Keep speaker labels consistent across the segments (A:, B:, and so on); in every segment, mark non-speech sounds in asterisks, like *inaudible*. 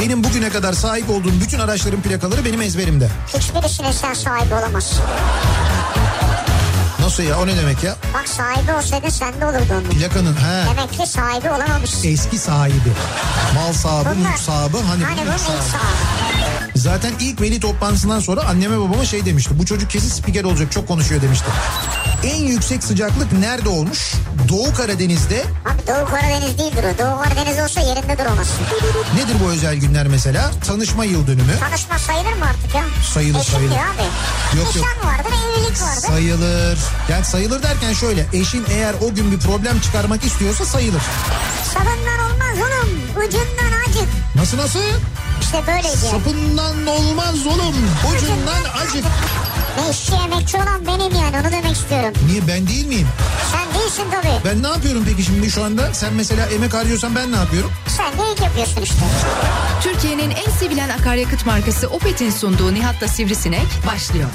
A: Benim bugüne kadar sahip olduğum bütün araçların plakaları benim ezberimde.
B: Hiçbirisine sen sahibi olamazsın.
A: Nasıl ya o ne demek ya?
B: Bak sahibi olsaydın sen de olurdu onun.
A: Plakanın he
B: Demek ki sahibi olamamışsın.
A: eski sahibi. Mal sahibi, mülk sahibi. Hani,
B: hani
A: mülk
B: bunun ilk
A: sahibi.
B: sahibi.
A: Zaten ilk veli toplantısından sonra anneme babama şey demişti. Bu çocuk kesin spiker olacak çok konuşuyor demişti. En yüksek sıcaklık nerede olmuş? Doğu Karadeniz'de.
B: Abi Doğu Karadeniz değildir o. Doğu Karadeniz olsa yerinde duramazsın.
A: Nedir bu özel günler mesela? Tanışma yıl dönümü.
B: Tanışma sayılır mı artık ya?
A: Sayılır,
B: Eşittir
A: sayılır.
B: abi.
A: Yok, yok.
B: Nişan vardır, evlilik vardır.
A: Sayılır. Yani sayılır derken şöyle. Eşin eğer o gün bir problem çıkarmak istiyorsa sayılır.
B: Sabından olmaz oğlum. Ucundan acık.
A: Nasıl nasıl?
B: İşte böyle diye.
A: Sapından olmaz oğlum. Ucundan acık.
B: Ne işçi emekçi olan benim yani onu demek istiyorum.
A: Niye ben değil miyim?
B: Sen değilsin tabii.
A: Ben ne yapıyorum peki şimdi şu anda? Sen mesela emek harcıyorsan ben ne yapıyorum?
B: Sen de ilk yapıyorsun işte.
C: Türkiye'nin en sevilen akaryakıt markası Opet'in sunduğu Nihat'la Sivrisinek başlıyor.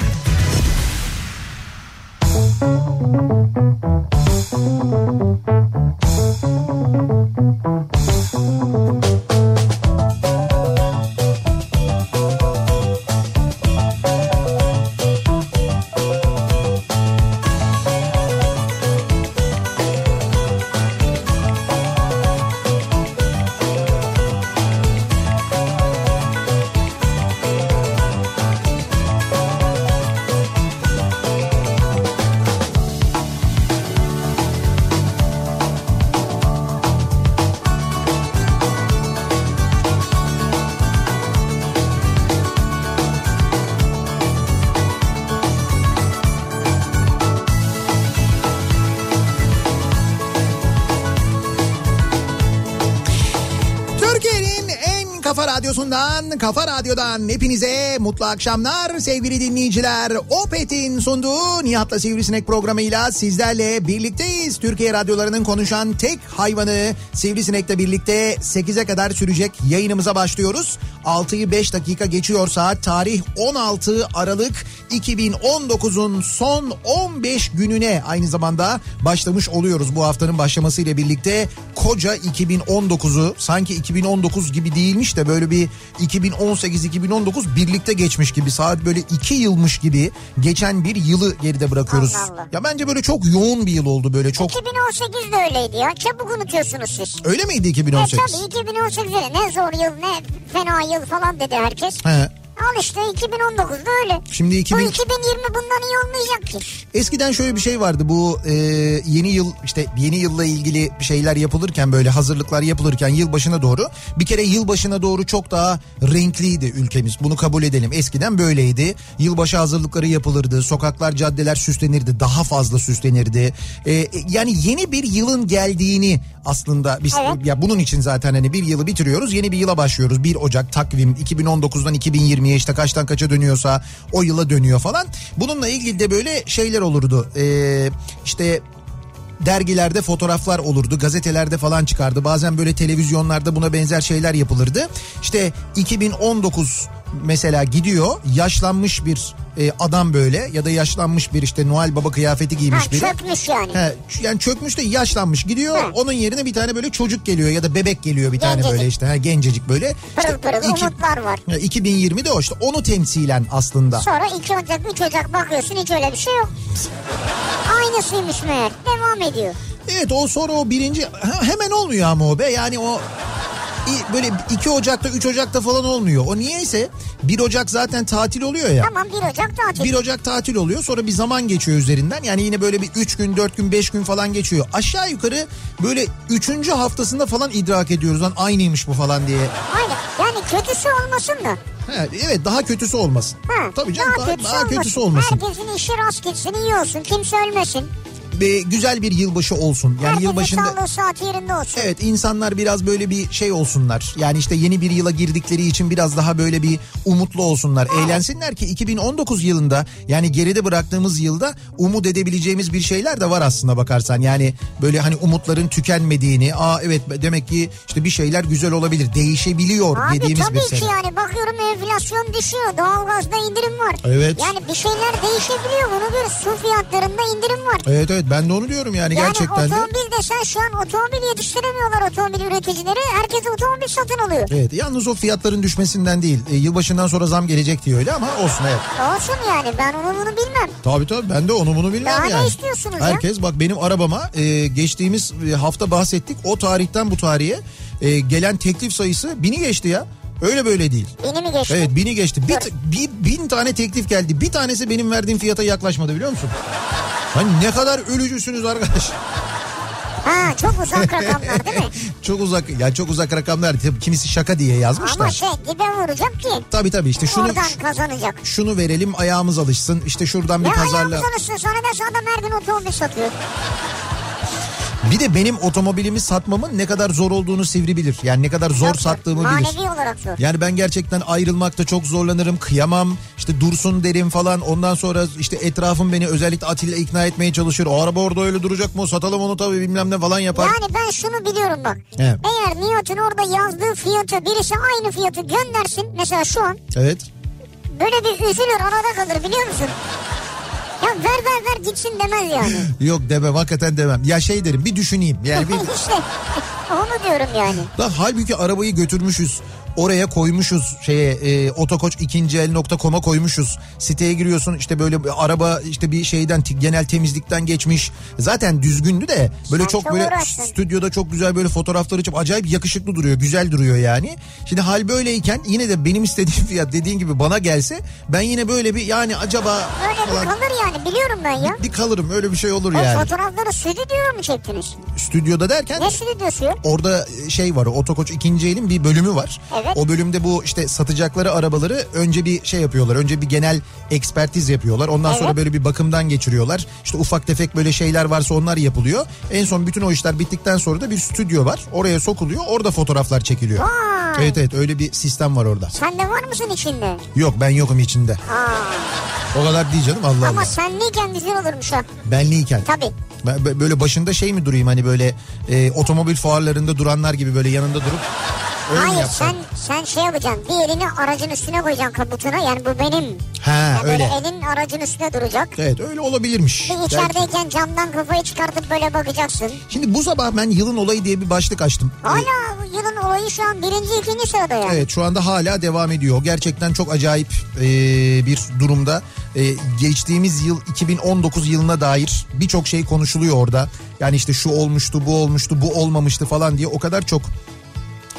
A: Türkiye'nin en kafa radyosundan, kafa radyodan hepinize mutlu akşamlar sevgili dinleyiciler. Opet'in sunduğu Nihat'la Sivrisinek programıyla sizlerle birlikteyiz. Türkiye radyolarının konuşan tek hayvanı Sivrisinek'le birlikte 8'e kadar sürecek yayınımıza başlıyoruz. 6'yı 5 dakika geçiyor saat. Tarih 16 Aralık 2019'un son 15 gününe aynı zamanda başlamış oluyoruz. Bu haftanın başlamasıyla birlikte koca 2019'u sanki 2019 gibi değilmiş de böyle bir 2018-2019 birlikte geçmiş gibi saat böyle 2 yılmış gibi geçen bir yılı geride bırakıyoruz.
B: Allah Allah.
A: Ya bence böyle çok yoğun bir yıl oldu böyle çok.
B: 2018 de öyleydi ya. Çabuk unutuyorsunuz siz.
A: Öyle miydi
B: E
A: 2018?
B: tabii 2018 dedi. Ne zor yıl ne fena yıl falan dedi herkes.
A: He.
B: Al işte 2019'da öyle.
A: Şimdi
B: Bu
A: 2000...
B: 2020 bundan iyi olmayacak ki.
A: Eskiden şöyle bir şey vardı bu e, yeni yıl işte yeni yılla ilgili bir şeyler yapılırken böyle hazırlıklar yapılırken yılbaşına doğru bir kere yılbaşına doğru çok daha renkliydi ülkemiz bunu kabul edelim eskiden böyleydi yılbaşı hazırlıkları yapılırdı sokaklar caddeler süslenirdi daha fazla süslenirdi E, e, yani yeni bir yılın geldiğini aslında biz
B: Evet.
A: ya bunun için zaten hani bir yılı bitiriyoruz yeni bir yıla başlıyoruz 1 Ocak takvim 2019'dan 2020'ye işte kaçtan kaça dönüyorsa o yıla dönüyor falan bununla ilgili de böyle şeyler olurdu Ee, işte dergilerde fotoğraflar olurdu. Gazetelerde falan çıkardı. Bazen böyle televizyonlarda buna benzer şeyler yapılırdı. İşte 2019 mesela gidiyor yaşlanmış bir e, adam böyle ya da yaşlanmış bir işte Noel Baba kıyafeti
B: Ha,
A: giymiş biri.
B: çökmüş yani.
A: He, ç- yani çökmüş de yaşlanmış gidiyor.
B: Hı.
A: Onun yerine bir tane böyle çocuk geliyor ya da bebek geliyor bir tane
B: Gencecik.
A: böyle işte. Ha, gencecik böyle.
B: Pırıl pırıl
A: iki-
B: umutlar var.
A: Ya, 2020'de o işte onu temsilen aslında.
B: Sonra 2 Ocak 3 Ocak bakıyorsun hiç öyle bir şey yok. Aynısıymış meğer. Devam ediyor.
A: Evet o sonra o birinci ha, hemen olmuyor ama o be yani o i- böyle 2 Ocak'ta 3 Ocak'ta falan olmuyor. O niyeyse 1 Ocak zaten tatil oluyor ya.
B: Tamam 1 Ocak tatil.
A: 1 Ocak tatil oluyor sonra bir zaman geçiyor üzerinden yani yine böyle bir 3 gün 4 gün 5 gün falan geçiyor. Aşağı yukarı böyle 3. haftasında falan idrak ediyoruz lan aynıymış bu falan diye.
B: Aynen. Yani kötüsü olmasın da.
A: He, evet daha kötüsü olmasın.
B: Ha,
A: Tabii canım daha, daha, kötüsü, olmasın.
B: Herkesin işi rast gitsin iyi olsun. Kimse ölmesin.
A: Ve güzel bir yılbaşı olsun. Yani
B: Herkesin
A: yılbaşında
B: sağlığı saati yerinde olsun.
A: Evet insanlar biraz böyle bir şey olsunlar. Yani işte yeni bir yıla girdikleri için biraz daha böyle bir umutlu olsunlar. Eğlensinler ki 2019 yılında yani geride bıraktığımız yılda umut edebileceğimiz bir şeyler de var aslında bakarsan. Yani böyle hani umutların tükenmediğini, aa evet demek ki işte bir şeyler güzel olabilir, değişebiliyor
B: Abi
A: dediğimiz
B: tabii
A: bir
B: ki
A: sene.
B: yani bakıyorum enflasyon düşüyor. Doğalgazda indirim var.
A: Evet.
B: Yani bir şeyler değişebiliyor. Bunu bir su fiyatlarında indirim var.
A: Evet evet Evet ben de onu diyorum yani,
B: Yani
A: gerçekten de.
B: otomobil desen şu an otomobil yetiştiremiyorlar otomobil üreticileri. Herkes otomobil satın alıyor.
A: Evet yalnız o fiyatların düşmesinden değil. E, yılbaşından sonra zam gelecek diye öyle ama olsun evet.
B: Olsun yani ben onu bunu bilmem.
A: Tabii tabii ben de onu bunu bilmem
B: Daha ne
A: yani.
B: istiyorsunuz ya?
A: Herkes bak benim arabama e, geçtiğimiz e, hafta bahsettik. O tarihten bu tarihe e, gelen teklif sayısı bini geçti ya. Öyle böyle değil.
B: Beni mi geçti?
A: Evet bini geçti. Bir,
B: Evet.
A: bir- bin tane teklif geldi. Bir tanesi benim verdiğim fiyata yaklaşmadı biliyor musun? Hani ne kadar ölücüsünüz arkadaş. *laughs*
B: Ha çok uzak rakamlar değil mi?
A: çok uzak ya çok uzak rakamlar. Tabii Kimisi şaka diye
B: Ama
A: yazmışlar.
B: şey dibe vuracak ki
A: Tabii tabii işte şunu
B: oradan kazanacak.
A: şunu verelim ayağımız alışsın. İşte şuradan bir
B: Ne
A: pazarla.
B: ayağımız alışsın sonra da şu adam her gün otomobil satıyor.
A: Bir de benim otomobilimi satmamın ne kadar zor olduğunu sivri bilir. Yani ne kadar zor
B: Çok
A: sattığımı
B: Manevi
A: bilir.
B: olarak zor.
A: Yani ben gerçekten ayrılmakta çok zorlanırım, kıyamam. İşte dursun derim falan. Ondan sonra işte etrafım beni özellikle Atilla ikna etmeye çalışır. O araba orada öyle duracak mı? Satalım onu tabii bilmem ne falan yapar.
B: Yani ben şunu biliyorum bak.
A: Evet.
B: Eğer Nihat'ın orada yazdığı fiyatı birisi aynı fiyatı göndersin. Mesela şu an
A: Evet.
B: böyle bir üzülür arada kalır biliyor musun? Ya ver ver ver gitsin demez yani.
A: Yok demem hakikaten demem. Ya şey derim bir düşüneyim. *laughs* Yani
B: *laughs*
A: bir...
B: işte onu diyorum yani.
A: Lan halbuki arabayı götürmüşüz. Oraya koymuşuz şeye e, otokoç ikinci el nokta com'a koymuşuz. Siteye giriyorsun işte böyle bir araba işte bir şeyden t- genel temizlikten geçmiş. Zaten düzgündü de böyle
B: Sen
A: çok,
B: çok
A: böyle
B: uğraştın.
A: stüdyoda çok güzel böyle fotoğrafları çıkıp acayip yakışıklı duruyor güzel duruyor yani. Şimdi hal böyleyken yine de benim istediğim *laughs* fiyat dediğin gibi bana gelse ben yine böyle bir yani acaba
B: Öyle bir
A: falan
B: kalır yani biliyorum ben ya.
A: bir kalırım öyle bir şey olur
B: O
A: yani.
B: fotoğrafları stüdyoya mu çektiniz?
A: Stüdyoda derken
B: Ne stüdyosu ya?
A: Orada şey var otokoç ikinci elin bir bölümü var.
B: Evet.
A: O bölümde bu işte satacakları arabaları önce bir şey yapıyorlar. Önce bir genel ekspertiz yapıyorlar. Ondan
B: Evet.
A: sonra böyle bir bakımdan geçiriyorlar. İşte ufak tefek böyle şeyler varsa onlar yapılıyor. En son bütün o işler bittikten sonra da bir stüdyo var. Oraya sokuluyor. Orada fotoğraflar çekiliyor.
B: Vay.
A: Evet evet öyle bir sistem var orada.
B: Sen de var mısın içinde?
A: Yok ben yokum içinde.
B: Aa.
A: O kadar değil canım Allah Allah.
B: Ama senliyken güzel olurmuş ha.
A: Benliyken.
B: Tabii.
A: Ben bö- böyle başında şey mi durayım hani böyle e, otomobil fuarlarında duranlar gibi böyle yanında durup öyle mi
B: Hayır
A: yapsam?
B: sen sen şey yapacaksın. Bir elini aracın üstüne koyacaksın kabutuna. Yani bu benim.
A: Ha
B: Ya
A: öyle.
B: böyle elin aracın üstüne duracak.
A: Evet öyle olabilirmiş.
B: Bir
A: Belki.
B: içerideyken camdan kafayı çıkartıp böyle bakacaksın.
A: Şimdi bu sabah ben yılın olayı diye bir başlık açtım. Ee,
B: Hala yılın olayı şu an birinci ikinci sırada yani.
A: Evet şu anda hala devam ediyor. Gerçekten çok acayip e, bir durumda. E, geçtiğimiz yıl 2019 yılına dair birçok şey konuşuluyor orada. Yani işte şu olmuştu, bu olmuştu, bu olmamıştı falan diye o kadar çok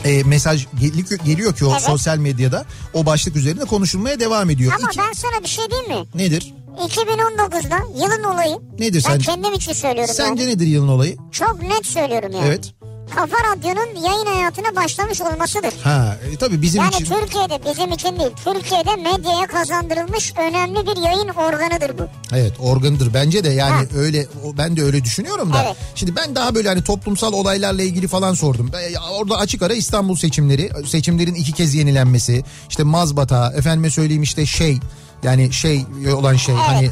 A: e, mesaj geliyor, geliyor ki o
B: Evet.
A: sosyal medyada. O başlık üzerinde konuşulmaya devam ediyor.
B: Ama
A: İki-
B: ben sana bir şey diyeyim mi?
A: Nedir?
B: 2019'da yılın olayı.
A: Nedir
B: ben şey
A: sence?
B: kendim için söylüyorum
A: Sence
B: yani.
A: nedir yılın olayı?
B: Çok net söylüyorum yani.
A: Evet.
B: Kafa Radyo'nun yayın hayatına başlamış olmasıdır.
A: Ha e, tabii bizim
B: Yani
A: için.
B: Türkiye'de bizim için değil, Türkiye'de medyaya kazandırılmış önemli bir yayın organıdır bu.
A: Evet organıdır bence de yani
B: Ha.
A: öyle o- ben de öyle düşünüyorum da.
B: Evet.
A: Şimdi ben daha böyle hani toplumsal olaylarla ilgili falan sordum. Ben- ya Orada açık ara İstanbul seçimleri, seçimlerin iki kez yenilenmesi, işte mazbata, efendime söyleyeyim işte şey yani şey olan şey hani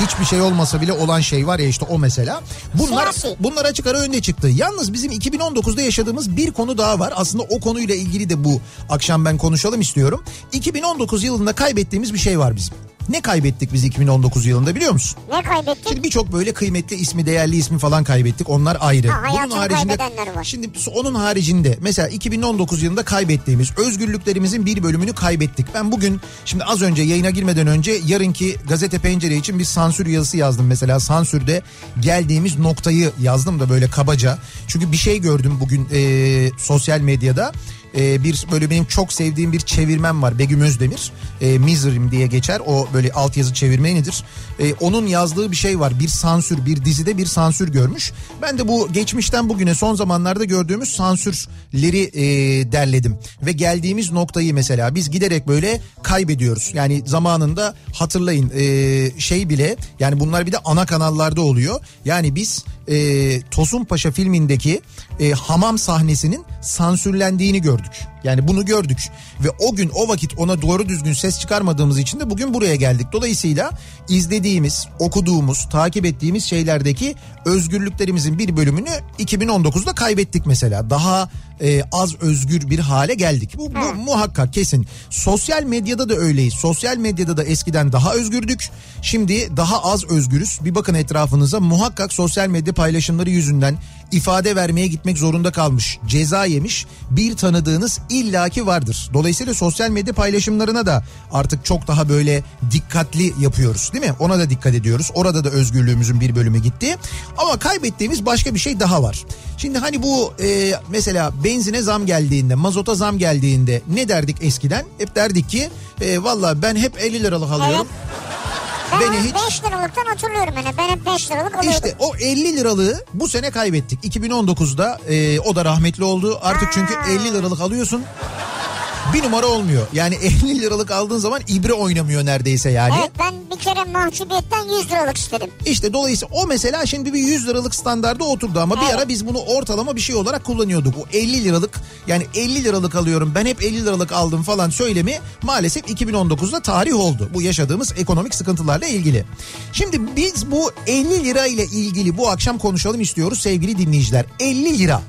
A: hiçbir şey olmasa bile olan şey var ya işte o mesela. Bunlar
B: Siyasi.
A: bunlar açık ara önde çıktı. Yalnız bizim 2019'da yaşadığımız bir konu daha var. Aslında o konuyla ilgili de bu akşam ben konuşalım istiyorum. 2019 yılında kaybettiğimiz bir şey var bizim. Ne kaybettik biz 2019 yılında biliyor musun?
B: Ne kaybettik?
A: Şimdi birçok böyle kıymetli ismi, değerli ismi falan kaybettik. Onlar ayrı.
B: Ha, hayatını kaybedenler var.
A: Şimdi onun haricinde mesela 2019 yılında kaybettiğimiz özgürlüklerimizin bir bölümünü kaybettik. Ben bugün şimdi az önce yayına girmeden önce yarınki gazete pencere için bir sansür yazısı yazdım. Mesela sansürde geldiğimiz noktayı yazdım da böyle kabaca. Çünkü bir şey gördüm bugün e, sosyal medyada. E, bir böyle benim çok sevdiğim bir çevirmen var Begüm Özdemir. E, Miserim diye geçer. O böyle altyazı çevirmenidir. E, onun yazdığı bir şey var. Bir sansür, bir dizide bir sansür görmüş. Ben de bu geçmişten bugüne son zamanlarda gördüğümüz sansürleri e, derledim. Ve geldiğimiz noktayı mesela biz giderek böyle kaybediyoruz. Yani zamanında hatırlayın e, şey bile yani bunlar bir de ana kanallarda oluyor. Yani biz e, Tosun Paşa filmindeki e, hamam sahnesinin sansürlendiğini gördük. Yani bunu gördük ve o gün o vakit ona doğru düzgün ses çıkarmadığımız için de bugün buraya geldik. Dolayısıyla izlediğimiz, okuduğumuz, takip ettiğimiz şeylerdeki özgürlüklerimizin bir bölümünü 2019'da kaybettik mesela. Daha e, az özgür bir hale geldik. Bu, bu
B: Evet.
A: muhakkak kesin. Sosyal medyada da öyleyiz. Sosyal medyada da eskiden daha özgürdük. Şimdi daha az özgürüz. Bir bakın etrafınıza muhakkak sosyal medya paylaşımları yüzünden ifade vermeye gitmek zorunda kalmış. Ceza yemiş bir tanıdığınız illaki vardır. Dolayısıyla sosyal medya paylaşımlarına da artık çok daha böyle dikkatli yapıyoruz değil mi? Ona da dikkat ediyoruz. Orada da özgürlüğümüzün bir bölümü gitti. Ama kaybettiğimiz başka bir şey daha var. Şimdi hani bu e, mesela benzine zam geldiğinde, mazota zam geldiğinde ne derdik eskiden? Hep derdik ki e, valla ben hep 50 liralık alıyorum.
B: Ben
A: Beni
B: hep
A: hiç-
B: 5 liralıktan hatırlıyorum hani. Ben hep 5 liralık alıyordum.
A: İşte o 50 liralığı bu sene kaybettik. 2019'da e, o da rahmetli oldu. Artık çünkü 50 liralık alıyorsun. Bir numara olmuyor. Yani *laughs* 50 liralık aldığın zaman ibre oynamıyor neredeyse yani.
B: Evet ben bir kere mahcubiyetten 100 liralık istedim.
A: İşte dolayısıyla o mesela şimdi bir 100 liralık standarda oturdu ama bir
B: Evet.
A: ara biz bunu ortalama bir şey olarak kullanıyorduk. O 50 liralık yani 50 liralık alıyorum ben hep 50 liralık aldım falan söylemi maalesef 2019'da tarih oldu. Bu yaşadığımız ekonomik sıkıntılarla ilgili. Şimdi biz bu 50 lira ile ilgili bu akşam konuşalım istiyoruz sevgili dinleyiciler. 50 lira.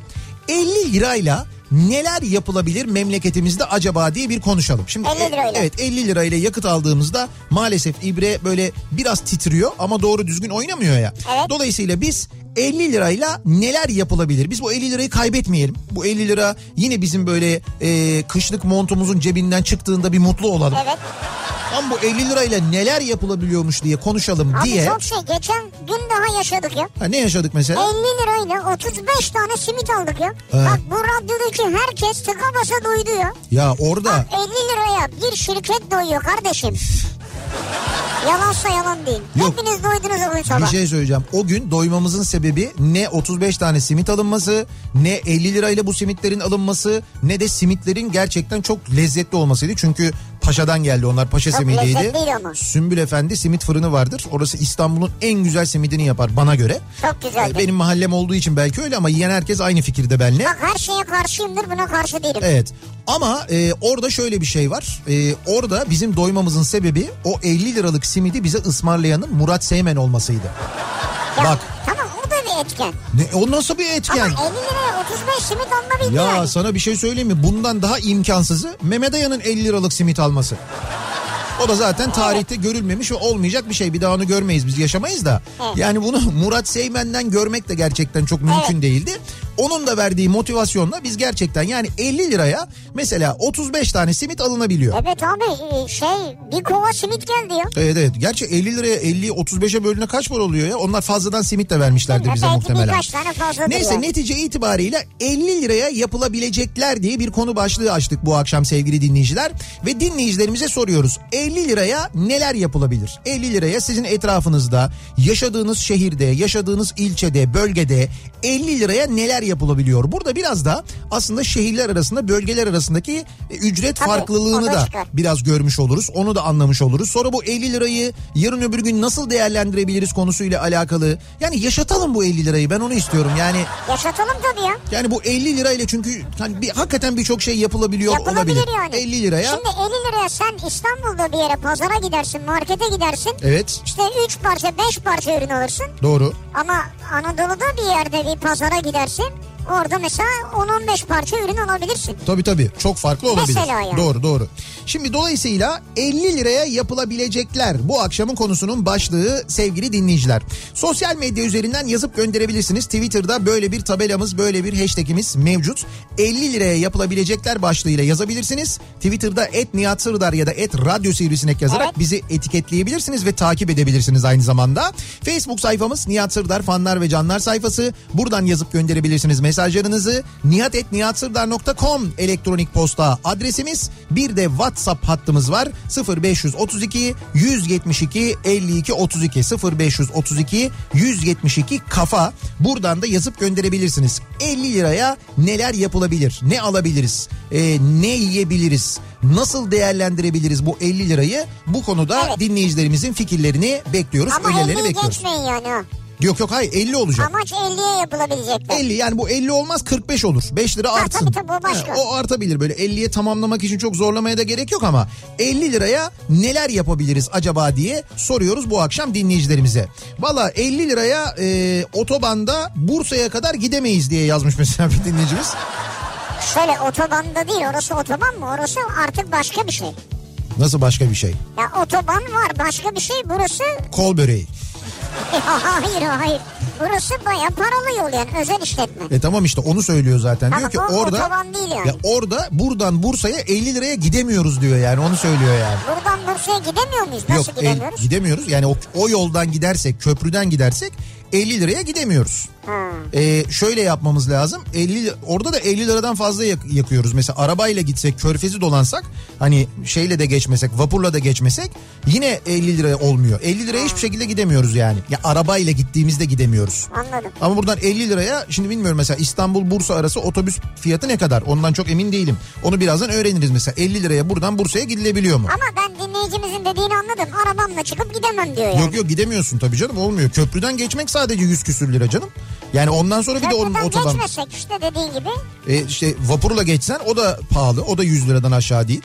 A: 50 lirayla neler yapılabilir memleketimizde acaba diye bir konuşalım. Şimdi
B: 50 lirayla.
A: Evet Evet 50 lirayla yakıt aldığımızda maalesef ibre böyle biraz titriyor ama doğru düzgün oynamıyor ya.
B: Evet.
A: Dolayısıyla biz 50 lirayla neler yapılabilir? Biz bu 50 lirayı kaybetmeyelim. Bu 50 lira yine bizim böyle e, kışlık montumuzun cebinden çıktığında bir mutlu olalım.
B: Evet.
A: Ama bu 50 lirayla neler yapılabiliyormuş diye konuşalım
B: Abi
A: diye.
B: çok şey geçen gün daha yaşadık ya.
A: Ha, ne yaşadık mesela?
B: 50 lirayla 35 tane simit aldık ya.
A: Evet.
B: Bak bu radyodaki herkes tıka basa duydu ya.
A: Ya orada
B: 50 liraya bir şirket doyuyor kardeşim. Yalansa yalan değil.
A: Yok.
B: Hepiniz doydunuz o gün sabah.
A: Bir şey söyleyeceğim. O gün doymamızın sebebi ne 35 tane simit alınması, ne 50 lirayla bu simitlerin alınması, ne de simitlerin gerçekten çok lezzetli olmasıydı. Çünkü Paşa'dan geldi onlar. Paşa
B: Çok
A: simidiydi.
B: lezzetliydi ama.
A: Sümbül Efendi simit fırını vardır. Orası İstanbul'un en güzel simidini yapar bana göre.
B: Çok güzeldi.
A: Ee, Benim mahallem olduğu için belki öyle ama yiyen herkes aynı fikirde benimle.
B: Bak her şeye karşıyımdır buna karşı değilim.
A: Evet ama e, orada şöyle bir şey var. E, orada bizim doymamızın sebebi o 50 liralık simidi bize ısmarlayanın Murat Seymen olmasıydı.
B: Ya,
A: Bak
B: Tamam o da bir etken.
A: ne, o nasıl bir etken?
B: Ama 50 liraya 35 simit alma
A: Ya
B: yani.
A: sana bir şey söyleyeyim mi? Bundan daha imkansızı Mehmet Aya'nın 50 liralık simit alması. O da zaten tarihte görülmemiş ve olmayacak bir şey. Bir daha onu görmeyiz biz yaşamayız da.
B: Evet.
A: Yani bunu Murat Seymen'den görmek de gerçekten çok mümkün
B: Evet.
A: değildi. Onun da verdiği motivasyonla biz gerçekten yani 50 liraya mesela 35 tane simit alınabiliyor.
B: Evet abi e, şey bir kova simit geldi ya.
A: Evet evet. Gerçi 50 liraya 50'yi 35'e bölüne kaç para oluyor ya? Onlar fazladan simit de vermişlerdir
B: Evet,
A: bize
B: belki
A: muhtemelen.
B: birkaç tane fazladır
A: Neyse
B: yani.
A: netice itibariyle 50 liraya yapılabilecekler diye bir konu başlığı açtık bu akşam sevgili dinleyiciler. Ve dinleyicilerimize soruyoruz. 50 liraya neler yapılabilir? 50 liraya sizin etrafınızda, yaşadığınız şehirde, yaşadığınız ilçede, bölgede 50 liraya neler yapılabiliyor? Burada biraz da aslında şehirler arasında, bölgeler arasındaki e, ücret
B: Tabii,
A: farklılığını
B: o da
A: da
B: çıkar.
A: biraz görmüş oluruz. Onu da anlamış oluruz. Sonra bu 50 lirayı yarın öbür gün nasıl değerlendirebiliriz konusuyla alakalı. Yani yaşatalım bu 50 lirayı. Ben onu istiyorum. Yani
B: Yaşatalım tabii ya.
A: yani bu 50 lirayla çünkü hani bir, hakikaten birçok şey yapılabiliyor
B: Yapılabilir
A: olabilir.
B: yani.
A: 50 liraya.
B: Şimdi 50 liraya sen İstanbul'da bir yere pazara gidersin, markete gidersin.
A: Evet.
B: İşte 3 parça 5 parça ürün alırsın.
A: Doğru.
B: Ama Anadolu'da bir yerde bir pazara gidersin. Orada mesela 10-15 parça ürün alabilirsin.
A: Tabii tabii. Çok farklı olabilir.
B: Mesela yani.
A: Doğru doğru. Şimdi dolayısıyla 50 liraya yapılabilecekler bu akşamın konusunun başlığı sevgili dinleyiciler. Sosyal medya üzerinden yazıp gönderebilirsiniz. Twitter'da böyle bir tabelamız, böyle bir hashtagimiz mevcut. 50 liraya yapılabilecekler başlığıyla yazabilirsiniz. Twitter'da et Nihat Sırdar ya da et Radyo Sivrisinek yazarak
B: Evet.
A: bizi etiketleyebilirsiniz ve takip edebilirsiniz aynı zamanda. Facebook sayfamız Nihat Sırdar fanlar ve canlar sayfası. Buradan yazıp gönderebilirsiniz mesajlarınızı. nihatetnihatsırdar.com elektronik posta adresimiz. Bir de WhatsApp hattımız var. 0532 172 52 32 0532 172 kafa. Buradan da yazıp gönderebilirsiniz. 50 liraya neler yapılabilir? Ne alabiliriz? Ee, ne yiyebiliriz? Nasıl değerlendirebiliriz bu 50 lirayı? Bu konuda
B: Evet.
A: dinleyicilerimizin fikirlerini bekliyoruz.
B: Ama
A: önerilerini
B: 50'yi
A: bekliyoruz.
B: geçmeyin yani. ha.
A: Yok yok hayır 50 olacak.
B: Amaç 50'ye yapılabilecekler.
A: 50 yani bu 50 olmaz 45 olur. 5 lira
B: tabii
A: artsın.
B: tabii, o başka.
A: o artabilir böyle 50'ye tamamlamak için çok zorlamaya da gerek yok ama 50 liraya neler yapabiliriz acaba diye soruyoruz bu akşam dinleyicilerimize. Valla 50 liraya e, otobanda Bursa'ya kadar gidemeyiz diye yazmış mesela bir dinleyicimiz.
B: Şöyle otobanda değil orası otoban mı? Orası artık başka bir şey.
A: Nasıl başka bir şey?
B: Ya otoban var başka bir şey burası. *laughs*
A: Kol böreği.
B: hayır hayır. Burası baya paralı yol yani özel işletme.
A: E tamam işte onu söylüyor zaten.
B: Ama
A: diyor ki
B: bu
A: orada
B: otoban değil yani.
A: ya orada buradan Bursa'ya 50 liraya gidemiyoruz diyor yani onu söylüyor yani.
B: Buradan Bursa'ya gidemiyor muyuz? Nasıl
A: el-
B: gidemiyoruz?
A: e, gidemiyoruz. Yani o, o yoldan gidersek, köprüden gidersek 50 liraya gidemiyoruz.
B: Hmm.
A: Ee, şöyle yapmamız lazım. 50 li- orada da 50 liradan fazla yak- yakıyoruz. Mesela arabayla gitsek, körfezi dolansak, hani şeyle de geçmesek, vapurla da geçmesek yine 50 liraya olmuyor. 50 liraya hiçbir şekilde gidemiyoruz yani. Ya arabayla gittiğimizde gidemiyoruz.
B: Anladım.
A: Ama buradan 50 liraya şimdi bilmiyorum mesela İstanbul Bursa arası otobüs fiyatı ne kadar? Ondan çok emin değilim. Onu birazdan öğreniriz mesela. 50 liraya buradan Bursa'ya gidilebiliyor mu?
B: Ama ben dinleyicimizin dediğini anladım. Arabamla çıkıp gidemem diyor yani.
A: Yok yok gidemiyorsun tabii canım olmuyor. Köprüden geçmek sadece 100 küsür lira canım. Yani ondan sonra bir de onun
B: Köprüden
A: otoban
B: geçmesek işte dediğin gibi.
A: e, işte vapurla geçsen o da pahalı. O da 100 liradan aşağı değil.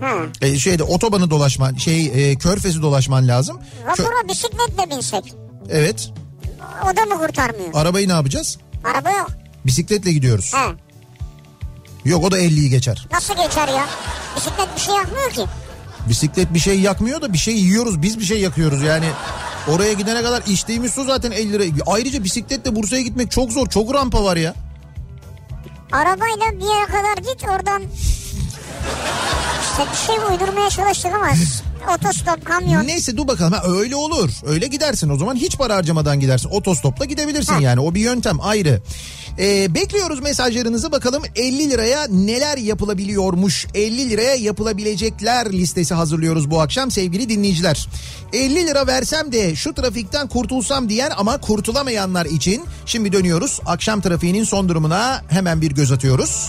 B: Ha.
A: E, şeyde otobanı dolaşman şey e, körfezi dolaşman lazım. Kö-
B: Vapura bisikletle binsek.
A: evet.
B: O da mı kurtarmıyor?
A: Arabayı ne yapacağız?
B: Araba yok.
A: Bisikletle gidiyoruz.
B: He.
A: Yok o da 50'yi geçer.
B: Nasıl geçer ya? Bisiklet bir şey yapmıyor ki.
A: Bisiklet bir şey yakmıyor da bir şey yiyoruz. Biz bir şey yakıyoruz yani. Oraya gidene kadar içtiğimiz su zaten 50 lira. Ayrıca bisikletle Bursa'ya gitmek çok zor. Çok rampa var ya.
B: Arabayla bir yere kadar git oradan. İşte bir şey uydurmaya çalıştık ama otostop, kamyon.
A: Neyse dur bakalım ha, öyle olur. Öyle gidersin o zaman hiç para harcamadan gidersin. Otostopla gidebilirsin yani o bir yöntem ayrı. Ee, bekliyoruz mesajlarınızı bakalım 50 liraya neler yapılabiliyormuş. 50 liraya yapılabilecekler listesi hazırlıyoruz bu akşam sevgili dinleyiciler. 50 lira versem de şu trafikten kurtulsam diyen ama kurtulamayanlar için şimdi dönüyoruz. Akşam trafiğinin son durumuna hemen bir göz atıyoruz.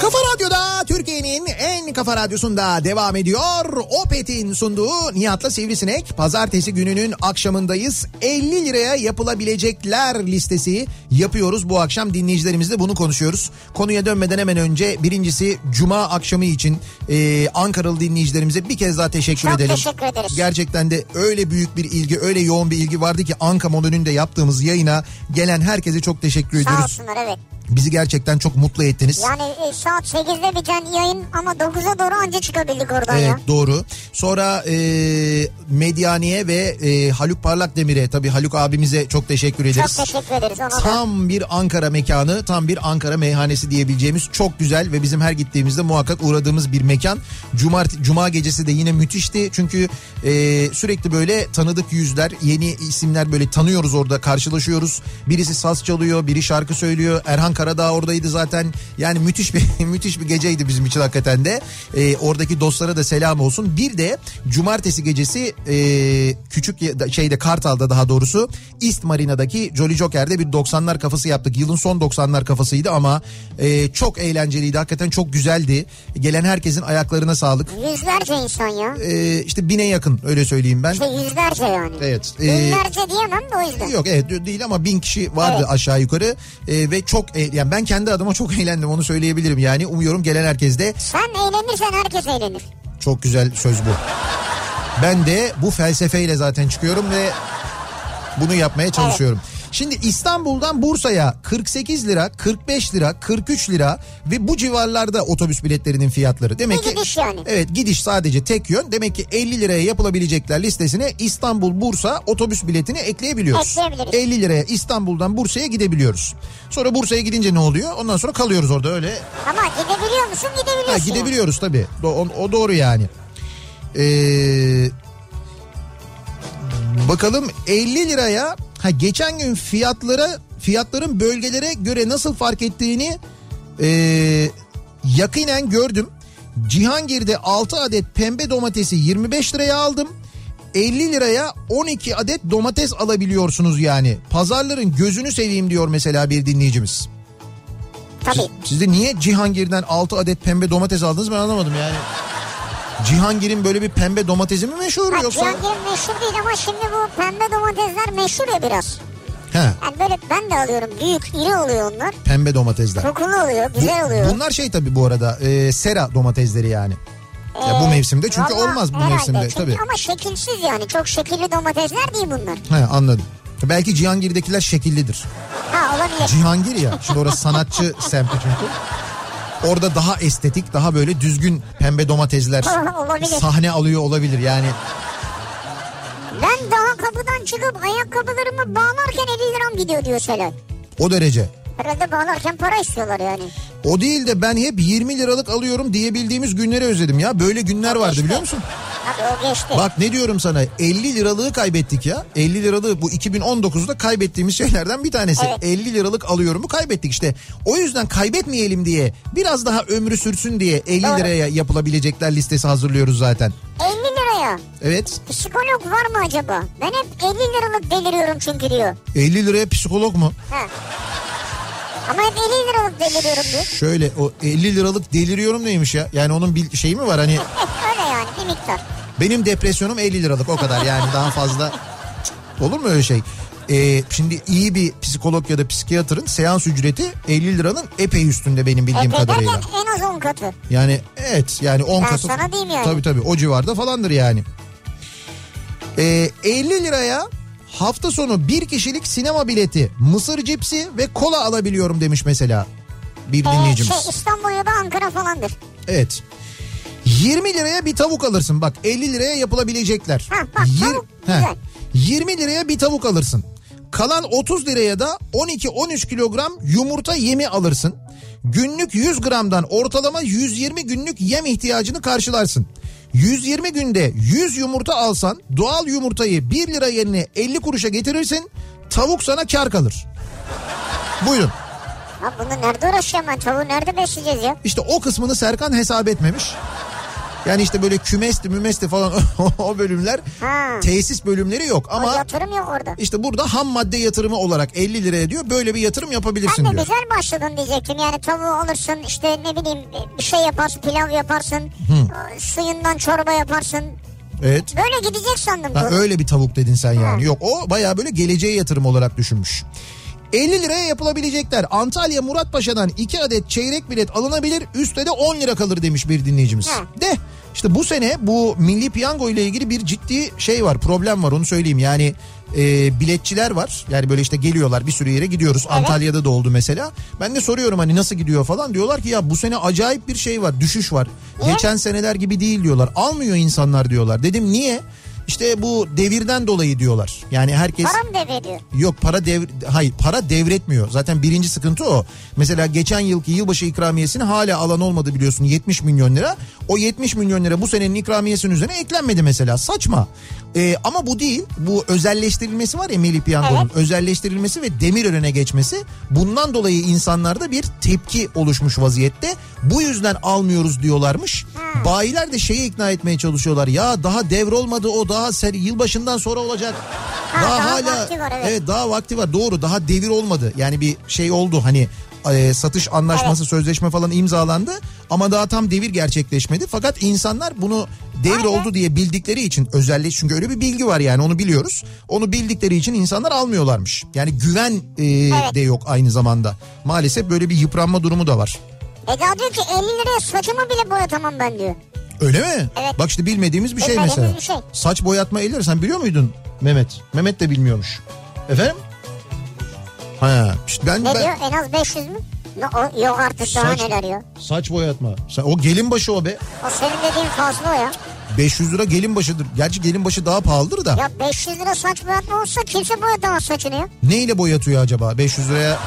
A: Kafa Radyo'da Türkiye'nin en kafa radyosunda devam ediyor. Opet'in sunduğu Nihat'la Sivrisinek. Pazartesi gününün akşamındayız. 50 liraya yapılabilecekler listesi yapıyoruz. Bu akşam dinleyicilerimizle bunu konuşuyoruz. Konuya dönmeden hemen önce birincisi Cuma akşamı için e, Ankaralı dinleyicilerimize bir kez daha teşekkür
B: Çok
A: edelim.
B: teşekkür ederiz.
A: Gerçekten de öyle büyük bir ilgi, öyle yoğun bir ilgi vardı ki Anka Modü'nün de yaptığımız yayına gelen herkese çok teşekkür
B: Sağ
A: ediyoruz.
B: olsunlar evet.
A: Bizi gerçekten çok mutlu ettiniz.
B: Yani e, saat 8'de biten yayın ama 9'a doğru anca çıkabildik oradan
A: Evet
B: ya.
A: doğru. Sonra e, Medyani'ye ve e, Haluk Parlak Demir'e tabii Haluk abimize çok teşekkür
B: Çok
A: ederiz.
B: teşekkür ederiz ona da.
A: Tam bir Ankara mekanı, tam bir Ankara meyhanesi diyebileceğimiz çok güzel ve bizim her gittiğimizde muhakkak uğradığımız bir mekan. Cuma, Cuma gecesi de yine müthişti çünkü e, sürekli böyle tanıdık yüzler, yeni isimler böyle tanıyoruz orada karşılaşıyoruz. Birisi saz çalıyor, biri şarkı söylüyor. Erhan Karadağ oradaydı zaten. Yani müthiş bir *laughs* müthiş bir geceydi bizim için hakikaten de. E, oradaki dostlara da selam olsun. Bir de cumartesi gecesi e, küçük ya- şeyde Kartal'da daha doğrusu East Marina'daki Jolly Joker'de bir 90'lar kafası yaptık. Yılın son 90'lar kafasıydı ama e, çok eğlenceliydi. Hakikaten çok güzeldi. Gelen herkesin ayaklarına sağlık.
B: Yüzlerce insan ya.
A: E, işte bine yakın öyle söyleyeyim ben.
B: İşte yüzlerce yani.
A: Evet. e,
B: Şey, Binlerce diyemem de o yüzden.
A: Yok evet değil ama bin kişi vardı
B: Evet.
A: aşağı yukarı E, ve çok e- yani ben kendi adıma çok eğlendim onu söyleyebilirim yani umuyorum gelen herkes de
B: Sen eğlenirsen herkes eğlenir.
A: Çok güzel söz bu. Ben de bu felsefeyle zaten çıkıyorum ve bunu yapmaya çalışıyorum. Şimdi İstanbul'dan Bursa'ya 48 lira, 45 lira, 43 lira ve bu civarlarda otobüs biletlerinin fiyatları. Demek
B: Bir
A: ki
B: gidiş yani.
A: Evet, gidiş sadece tek yön. Demek ki 50 liraya yapılabilecekler listesine İstanbul Bursa otobüs biletini ekleyebiliyoruz.
B: Ekleyebiliriz.
A: 50 liraya İstanbul'dan Bursa'ya gidebiliyoruz. Sonra Bursa'ya gidince ne oluyor? Ondan sonra kalıyoruz orada öyle
B: Ama gidebiliyor musun? Gidebiliyorsun.
A: Ha,
B: yani.
A: gidebiliyoruz tabii. Do- O, o doğru yani. Ee, bakalım 50 liraya ha geçen gün fiyatlara fiyatların bölgelere göre nasıl fark ettiğini ee, yakinen gördüm. Cihangir'de 6 adet pembe domatesi 25 liraya aldım. 50 liraya 12 adet domates alabiliyorsunuz yani. Pazarların gözünü seveyim diyor mesela bir dinleyicimiz.
B: Tabii.
A: Siz de niye Cihangir'den 6 adet pembe domates aldınız ben anlamadım yani. Cihangir'in böyle bir pembe domatesi mi meşhur
B: Ha,
A: yoksa?
B: Cihangir'in meşhur değil ama şimdi bu pembe domatesler meşhur ya biraz.
A: He,
B: Yani böyle ben de alıyorum. Büyük, iri oluyor onlar.
A: pembe domatesler.
B: Kokulu oluyor, güzel
A: Bu-
B: oluyor.
A: Bunlar şey tabii bu arada e, sera domatesleri yani. Ya bu
B: Ee,
A: mevsimde çünkü
B: valla
A: olmaz bu
B: herhalde.
A: mevsimde
B: Çünkü
A: tabii.
B: Ama şekilsiz yani. Çok şekilli domatesler değil bunlar.
A: He anladım. Belki Cihangir'dekiler
B: *laughs*
A: şekillidir.
B: Ha olabilir.
A: Cihangir ya. Şimdi orası sanatçı
B: *laughs*
A: semti çünkü. Orada daha estetik, daha böyle düzgün pembe domatesler
B: *laughs* Olabilir.
A: sahne alıyor olabilir. Yani
B: Ben daha kapıdan çıkıp ayakkabılarımı bağlarken 50 liram gidiyor diyor Selen.
A: o derece.
B: Herhalde bağlarken para istiyorlar yani.
A: O değil de ben hep 20 liralık alıyorum diyebildiğimiz günleri özledim ya. Böyle günler vardı biliyor musun?
B: Abi o geçti.
A: Bak ne diyorum sana 50 liralığı kaybettik ya. 50 liralığı bu 2019'da kaybettiğimiz şeylerden bir tanesi.
B: Evet.
A: 50 liralık alıyorumu kaybettik işte. O yüzden kaybetmeyelim diye biraz daha ömrü sürsün diye 50
B: Doğru.
A: liraya yapılabilecekler listesi hazırlıyoruz zaten.
B: 50 liraya.
A: Evet
B: Psikolog var mı acaba? Ben hep 50 liralık deliriyorum çünkü diyor.
A: 50 liraya psikolog mu?
B: Ha. Ama hep 50 liralık deliriyorum diyor.
A: Şöyle o 50 liralık deliriyorum neymiş ya? Yani onun bir şeyi mi var hani
B: Eh, Öyle yani bir miktar.
A: benim depresyonum 50 liralık o kadar yani daha fazla olur mu öyle şey? Ee, şimdi iyi bir psikolog ya da psikiyatrın seans ücreti 50 liranın epey üstünde benim bildiğim
B: E,
A: kadarıyla.
B: derken en az 10 katı.
A: Yani evet yani 10
B: Ben
A: katı.
B: sana diyeyim yani.
A: Tabii tabii o civarda falandır yani. Ee, 50 liraya hafta sonu bir kişilik sinema bileti, mısır cipsi ve kola alabiliyorum demiş mesela bir
B: Ee,
A: dinleyicimiz.
B: şey İstanbul ya da Ankara falandır.
A: Evet. 20 liraya bir tavuk alırsın. Bak 50 liraya yapılabilecekler.
B: Ha, bak
A: Yir-
B: tavuk güzel.
A: 20 liraya bir tavuk alırsın. Kalan 30 liraya da 12-13 kilogram yumurta yemi alırsın. Günlük 100 gramdan ortalama 120 günlük yem ihtiyacını karşılarsın. 120 günde 100 yumurta alsan doğal yumurtayı 1 lira yerine 50 kuruşa getirirsin. Tavuk sana kar kalır. Buyurun.
B: Ha bunu nerede uğraşacağım ben? Tavuğu nerede besleyeceğiz ya?
A: İşte o kısmını Serkan hesap etmemiş. Yani işte böyle kümesti mümesti falan *laughs* o bölümler
B: Ha.
A: tesis bölümleri yok
B: O
A: ama
B: yatırım yok orada.
A: işte burada ham madde yatırımı olarak 50 liraya diyor böyle bir yatırım yapabilirsin
B: Ben de
A: diyor.
B: güzel başladın diyecektim. Yani tavuğu alırsın işte ne bileyim bir şey yaparsın pilav yaparsın. e, Suyundan çorba yaparsın.
A: Evet.
B: Böyle gidecek sandım.
A: Ha,
B: bu.
A: öyle bir tavuk dedin sen yani. Yok o bayağı böyle geleceğe yatırım olarak düşünmüş. 50 liraya yapılabilecekler. Antalya Muratpaşa'dan 2 adet çeyrek bilet alınabilir. Üstte de 10 lira kalır demiş bir dinleyicimiz.
B: Hı.
A: De işte bu sene bu milli piyango ile ilgili bir ciddi şey var problem var onu söyleyeyim. Yani e, biletçiler var. Yani böyle işte geliyorlar bir sürü yere gidiyoruz. Antalya'da da oldu mesela. Ben de soruyorum hani nasıl gidiyor falan. Diyorlar ki ya bu sene acayip bir şey var düşüş var. Geçen seneler gibi değil diyorlar. Almıyor insanlar diyorlar. Dedim niye? İşte bu devirden dolayı diyorlar. Yani herkes
B: Para mı devrediyor?
A: Yok para dev hayır para devretmiyor. Zaten birinci sıkıntı o. Mesela geçen yılki yılbaşı ikramiyesini hala alan olmadı biliyorsun 70 milyon lira. O 70 milyon lira bu senenin ikramiyesinin üzerine eklenmedi mesela. Saçma. Ee, ama bu değil. Bu özelleştirilmesi var ya Melih Piyango'nun. Özelleştirilmesi ve Demirören'e geçmesi. Bundan dolayı insanlarda bir tepki oluşmuş vaziyette. Bu yüzden almıyoruz diyorlarmış.
B: Hmm.
A: Bayiler de şeyi ikna etmeye çalışıyorlar. Ya daha devrolmadı o daha ser yılbaşından sonra olacak.
B: Ha, daha
A: hala
B: vakti var, evet.
A: evet daha vakti var doğru daha devir olmadı yani bir şey oldu hani e, satış anlaşması sözleşme falan imzalandı ama daha tam devir gerçekleşmedi fakat insanlar bunu devir
B: Aynen.
A: oldu diye bildikleri için özellikle çünkü öyle bir bilgi var yani onu biliyoruz onu bildikleri için insanlar almıyorlarmış yani güven e, de yok aynı zamanda maalesef böyle bir yıpranma durumu da var.
B: Eda diyor ki 50 liraya saçımı bile boyatamam ben diyor.
A: Öyle mi?
B: Evet.
A: Bak işte bilmediğimiz bir şey
B: Bilmediğimiz
A: mesela.
B: bir şey.
A: Saç boyatma 50 lira. Sen biliyor muydun Mehmet? Mehmet de bilmiyormuş. Efendim? Ha, işte ben,
B: Ne
A: ben-
B: diyor en az 500 mü? Ne, o, yok artık daha
A: Saç-
B: neler ya.
A: saç boyatma. Sen, o gelin başı o be.
B: O senin dediğin fazla o ya.
A: 500 lira gelin başıdır. Gerçi gelin başı daha pahalıdır da.
B: Ya 500 lira saç boyatma olsa kimse boyatamaz saçını ya.
A: Neyle boyatıyor acaba? 500 liraya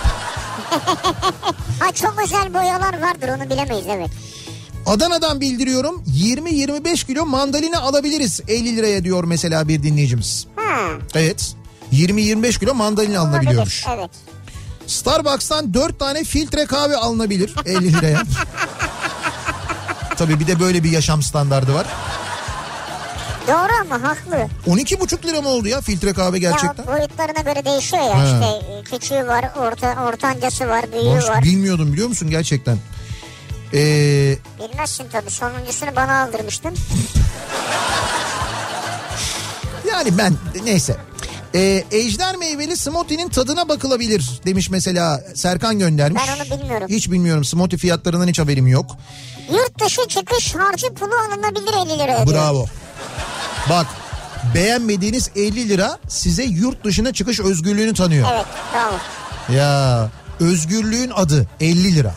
B: Ha çok özel boyalar vardır onu bilemeyiz evet.
A: Adana'dan bildiriyorum 20-25 kilo mandalina alabiliriz 50 liraya diyor mesela bir dinleyicimiz.
B: Ha.
A: Evet 20-25 kilo mandalina alınabiliyormuş.
B: olabilir, Evet.
A: Starbucks'tan 4 tane filtre kahve alınabilir 50
B: *laughs*
A: liraya. Tabii bir de böyle bir yaşam standardı var.
B: Doğru ama haklı.
A: 12,5 lira mı oldu ya filtre kahve gerçekten?
B: Ya boyutlarına göre değişiyor ya
A: Ha.
B: işte e, küçüğü var, orta, ortancası var, büyüğü
A: Boş-
B: var.
A: bilmiyordum biliyor musun gerçekten. Ee,
B: Bilmezsin tabii sonuncusunu bana aldırmıştın.
A: yani ben neyse. Ee, ejder meyveli smoothie'nin tadına bakılabilir demiş mesela Serkan göndermiş.
B: Ben onu bilmiyorum.
A: Hiç bilmiyorum smoothie fiyatlarından hiç haberim yok.
B: Yurt dışı çıkış harcı pulu alınabilir 50 lira ödüyor.
A: Bravo. Bak beğenmediğiniz 50 lira size yurt dışına çıkış özgürlüğünü tanıyor.
B: Evet bravo.
A: Ya özgürlüğün adı 50 lira.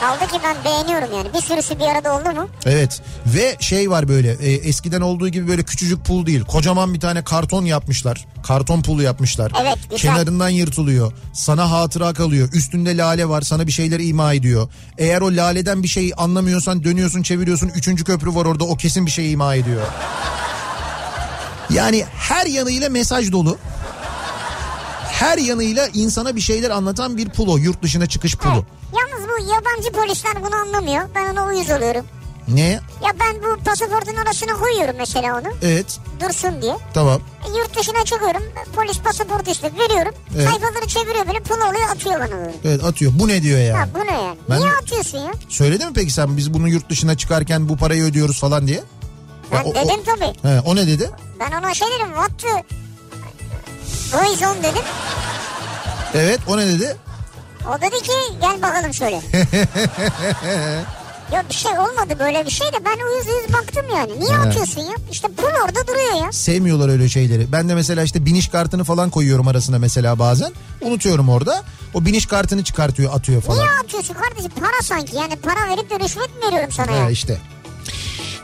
B: Kaldı ki ben beğeniyorum yani. Bir sürüsü bir arada oldu mu?
A: Evet ve şey var böyle e, eskiden olduğu gibi böyle küçücük pul değil kocaman bir tane karton yapmışlar karton pulu yapmışlar
B: Evet, güzel.
A: kenarından yırtılıyor sana hatıra kalıyor üstünde lale var sana bir şeyler ima ediyor eğer o laleden bir şey anlamıyorsan dönüyorsun çeviriyorsun üçüncü köprü var orada o kesin bir şey ima ediyor yani her yanıyla mesaj dolu her yanıyla insana bir şeyler anlatan bir pulo yurt dışına çıkış pulu
B: Evet. Yalnız bu yabancı polisler bunu anlamıyor. Ben ona uyuz oluyorum.
A: ne
B: Ya ben bu pasaportun arasına koyuyorum mesela onu.
A: evet
B: Dursun diye.
A: tamam
B: E, Yurt dışına çıkıyorum. Polis pasaportu işte veriyorum.
A: Evet.
B: Sayfaları çeviriyor böyle pul oluyor atıyor bana böyle.
A: evet atıyor bu ne diyor yani.
B: Ya bu ne yani?
A: Ben-
B: Niye atıyorsun ya?
A: Söyledi mi peki sen biz bunu yurt dışına çıkarken bu parayı ödüyoruz falan diye?
B: Ben
A: Ya o- o-
B: dedim tabii.
A: He, o ne dedi?
B: Ben ona şey dedim. What the... Poison dedim.
A: Evet o ne dedi?
B: O dedi ki gel
A: *laughs*
B: bakalım şöyle. ya bir şey olmadı böyle bir şey de ben uyuz uyuz baktım yani. Niye
A: Evet.
B: atıyorsun ya? İşte pul orada duruyor ya.
A: Sevmiyorlar öyle şeyleri. Ben de mesela işte biniş kartını falan koyuyorum arasına mesela bazen. Unutuyorum orada. O biniş kartını çıkartıyor atıyor falan.
B: Niye atıyorsun kardeşim? Para sanki yani para verip de rüşvet mi veriyorum sana ya?
A: He, işte.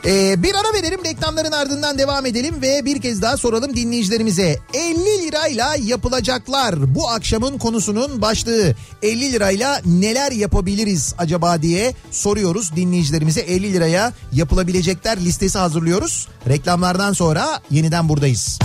A: Ee, bir ara verelim reklamların ardından devam edelim ve bir kez daha soralım dinleyicilerimize. 50 lirayla yapılacaklar bu akşamın konusunun başlığı. 50 lirayla neler yapabiliriz acaba diye soruyoruz dinleyicilerimize. 50 liraya yapılabilecekler listesi hazırlıyoruz. Reklamlardan sonra yeniden buradayız.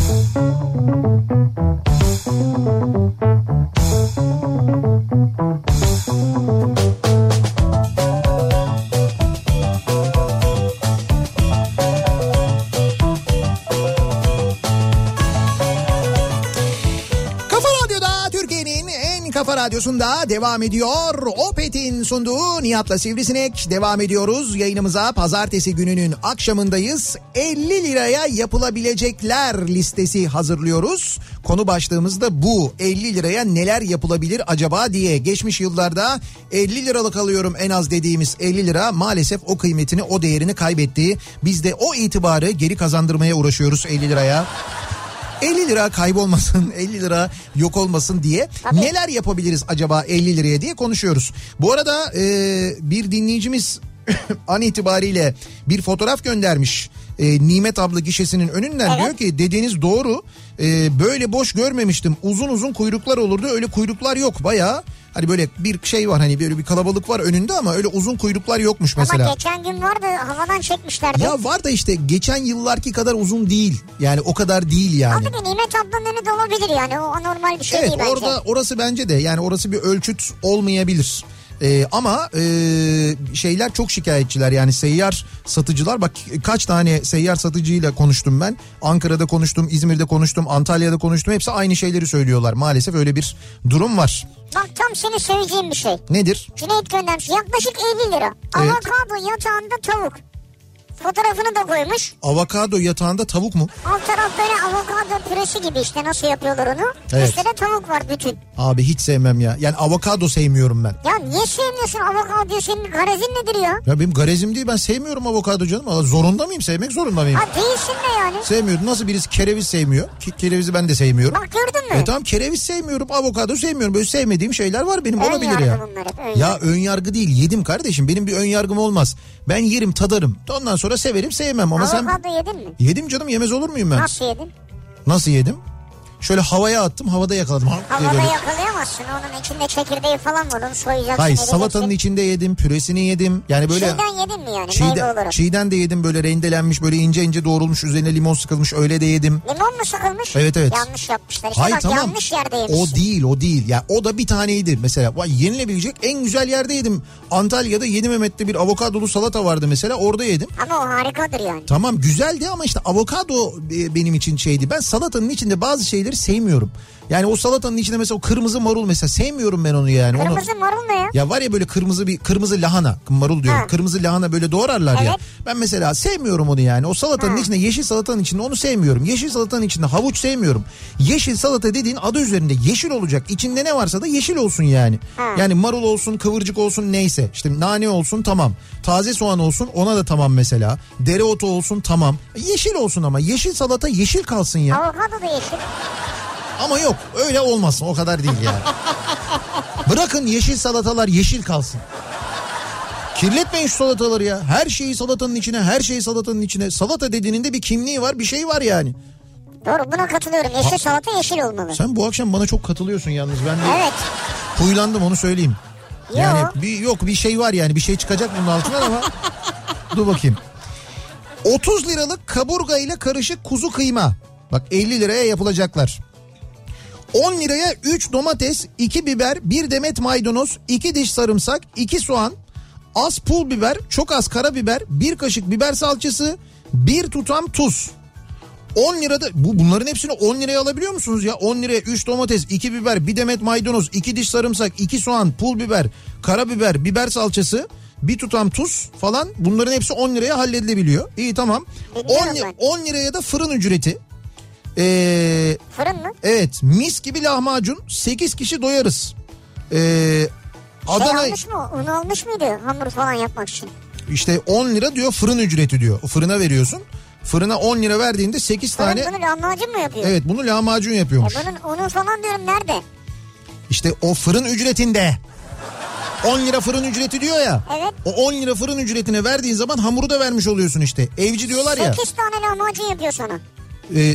A: Kafa Radyo'da Türkiye'nin en kafa radyosunda devam ediyor. Opet'in sunduğu Nihat'la Sivrisinek devam ediyoruz. Yayınımıza pazartesi gününün akşamındayız. 50 liraya yapılabilecekler listesi hazırlıyoruz. Konu başlığımız da bu. 50 liraya neler yapılabilir acaba diye. Geçmiş yıllarda 50 liralık alıyorum en az dediğimiz 50 lira maalesef o kıymetini o değerini kaybetti. Biz de o itibarı geri kazandırmaya uğraşıyoruz 50 liraya. 50 lira kaybolmasın, *laughs* 50 lira yok olmasın diye
B: Tabii.
A: neler yapabiliriz acaba 50 liraya diye konuşuyoruz. Bu arada e, bir dinleyicimiz *coughs* an itibariyle bir fotoğraf göndermiş. E, Nimet abla gişesinin önünden
B: Evet.
A: diyor ki dediğiniz doğru E, böyle boş görmemiştim uzun uzun kuyruklar olurdu öyle kuyruklar yok baya hani böyle bir şey var hani böyle bir kalabalık var önünde ama öyle uzun kuyruklar yokmuş mesela.
B: Ama geçen gün vardı havadan çekmişlerdi.
A: Ya var da işte geçen yıllarki kadar uzun değil yani o kadar değil yani.
B: Abi de Nimet ablanın önü dolabilir yani o anormal bir şey
A: Evet
B: değil bence.
A: orada orası bence de yani orası bir ölçüt olmayabilir. Ee, ama e, şeyler çok şikayetçiler yani seyyar satıcılar bak kaç tane seyyar satıcıyla konuştum ben Ankara'da konuştum İzmir'de konuştum Antalya'da konuştum hepsi aynı şeyleri söylüyorlar maalesef öyle bir durum var
B: Bak tam seni söyleyeceğim bir şey.
A: nedir
B: Cüneyt göndermiş yaklaşık 50 lira. Avokado yatağında tavuk. Fotoğrafını da koymuş.
A: avokado yatağında tavuk mu
B: Alt taraf böyle avokado püresi gibi işte nasıl yapıyorlar onu.
A: Evet.
B: Üstte de tavuk var bütün.
A: abi hiç sevmem ya yani avokado sevmiyorum ben
B: Ya niye sevmiyorsun avokado senin garezin nedir ya?
A: ya benim garezim değil ben sevmiyorum avokado canım Aa, zorunda mıyım sevmek zorunda mıyım
B: Ha değilsin de yani.
A: sevmiyorum nasıl birisi kereviz sevmiyor ki kerevizi ben de sevmiyorum
B: Bak gördün mü?
A: E tamam kereviz sevmiyorum, avokado sevmiyorum. Böyle sevmediğim şeyler var benim
B: Ön
A: olabilir
B: yargı
A: ya.
B: bunlar hep, ön
A: Ya
B: yargı.
A: ön yargı değil yedim kardeşim. Benim bir ön yargım olmaz. Ben yerim tadarım. Ondan sonra severim sevmem ama sen...
B: avokado yedin mi?
A: Yedim canım yemez olur muyum ben?
B: Nasıl yedin?
A: Nasıl yedim? Şöyle havaya attım havada yakaladım. Hop diye
B: Havada
A: böyle.
B: yakalayamazsın. Onun içinde çekirdeği falan var. Onu soyacaksın.
A: Hayır
B: edeceksin.
A: salatanın içinde yedim püresini yedim. Yani böyle...
B: Şeyden yedin mi yani?
A: Çiğden,
B: Meyve olarak.
A: çiğden de yedim böyle rendelenmiş böyle ince ince doğrulmuş üzerine limon sıkılmış öyle de yedim.
B: Limon mu sıkılmış?
A: Evet, evet.
B: Yanlış yapmışlar. İşte
A: Hayır
B: bak
A: tamam.
B: yanlış yerde yemişsin.
A: O değil o değil. Ya o da bir taneydi mesela. Vay, yenilebilecek en güzel yerde yedim. Antalya'da Yedi Mehmet'te bir avokadolu salata vardı mesela. Orada yedim.
B: Ama o harikadır yani.
A: Tamam güzeldi ama işte avokado e, benim için şeydi. Ben salatanın içinde bazı şeyleri sevmiyorum. Yani o salatanın içinde mesela o kırmızı marul marul mesela sevmiyorum ben onu yani. Onu-
B: Kırmızı marul ne ya?
A: ya var ya böyle kırmızı bir kırmızı lahana marul diyorum.
B: Ha.
A: Kırmızı lahana böyle doğrarlar ya.
B: Evet.
A: Ben mesela sevmiyorum onu yani. O salatanın içinde yeşil salatanın içinde onu sevmiyorum. Yeşil salatanın içinde havuç sevmiyorum. Yeşil salata dediğin adı üzerinde yeşil olacak. İçinde ne varsa da yeşil olsun yani. Yani marul olsun, kıvırcık olsun neyse. İşte nane olsun tamam. Taze soğan olsun ona da tamam mesela. Dereotu olsun tamam. Yeşil olsun ama yeşil salata yeşil kalsın ya.
B: Avokado da yeşil.
A: Ama yok öyle olmasın o kadar değil yani. Bırakın yeşil salatalar yeşil kalsın. Kirletmeyin şu salataları ya. Her şeyi salatanın içine, her şeyi salatanın içine. Salata dediğinin de bir kimliği var, bir şey var yani.
B: Doğru buna katılıyorum. Yeşil salata yeşil olmalı.
A: Sen bu akşam bana çok katılıyorsun yalnız. Ben de
B: Evet.
A: huylandım onu söyleyeyim.
B: Yo.
A: Yani bir yok bir şey var yani bir şey çıkacak bunun altından ama dur bakayım. 30 liralık kaburga ile karışık kuzu kıyma. Bak 50 liraya yapılacaklar. 10 liraya 3 domates, 2 biber, 1 demet maydanoz, 2 diş sarımsak, 2 soğan, az pul biber, çok az karabiber, 1 kaşık biber salçası, 1 tutam tuz. 10 lirada bu bunların hepsini 10 liraya alabiliyor musunuz ya? 10 liraya 3 domates, 2 biber, 1 demet maydanoz, 2 diş sarımsak, 2 soğan, pul biber, karabiber, biber salçası, bir tutam tuz falan bunların hepsi 10 liraya halledilebiliyor. İyi tamam. 10, li-
B: Biliyorum
A: 10 liraya da fırın ücreti. Ee,
B: Fırın mı? Şey
A: Evet mis gibi lahmacun 8 kişi doyarız. Ee, Adana
B: Şey almış mı? Un almış mıydı hamur falan yapmak için?
A: işte 10 lira diyor fırın ücreti diyor. Fırına veriyorsun. Fırına 10 lira verdiğinde 8
B: Fırın
A: tane
B: bunu lahmacun mu yapıyor?
A: evet bunu lahmacun
B: E
A: yapıyormuş.
B: bunun unu falan diyorum nerede?
A: İşte o fırın ücretinde 10 lira fırın ücreti diyor ya.
B: Evet.
A: O 10 lira fırın ücretine verdiğin zaman hamuru da vermiş oluyorsun işte. Evci diyorlar ya.
B: 8 tane lahmacun yapıyor sana.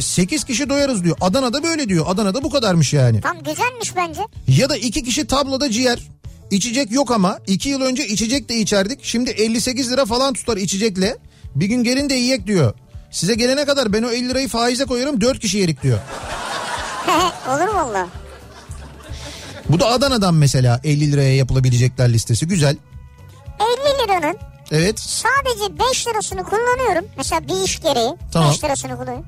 A: 8 kişi doyarız diyor. Adana'da böyle diyor. Adana'da bu kadarmış yani.
B: Tam güzelmiş bence. *laughs*
A: Ya da iki kişi tabloda ciğer. İçecek yok ama iki yıl önce içecek de içerdik. Şimdi 58 lira falan tutar içecekle. Bir gün gelin de yiyek diyor. Size gelene kadar ben o 50 lirayı faize koyarım 4 kişi yerik diyor.
B: Olur valla.
A: Bu da Adana'dan mesela 50 liraya yapılabilecekler listesi. Güzel.
B: 50 liranın
A: Evet.
B: sadece 5 lirasını kullanıyorum. Mesela bir iş gereği
A: Tamam.
B: 5 lirasını kullanıyorum.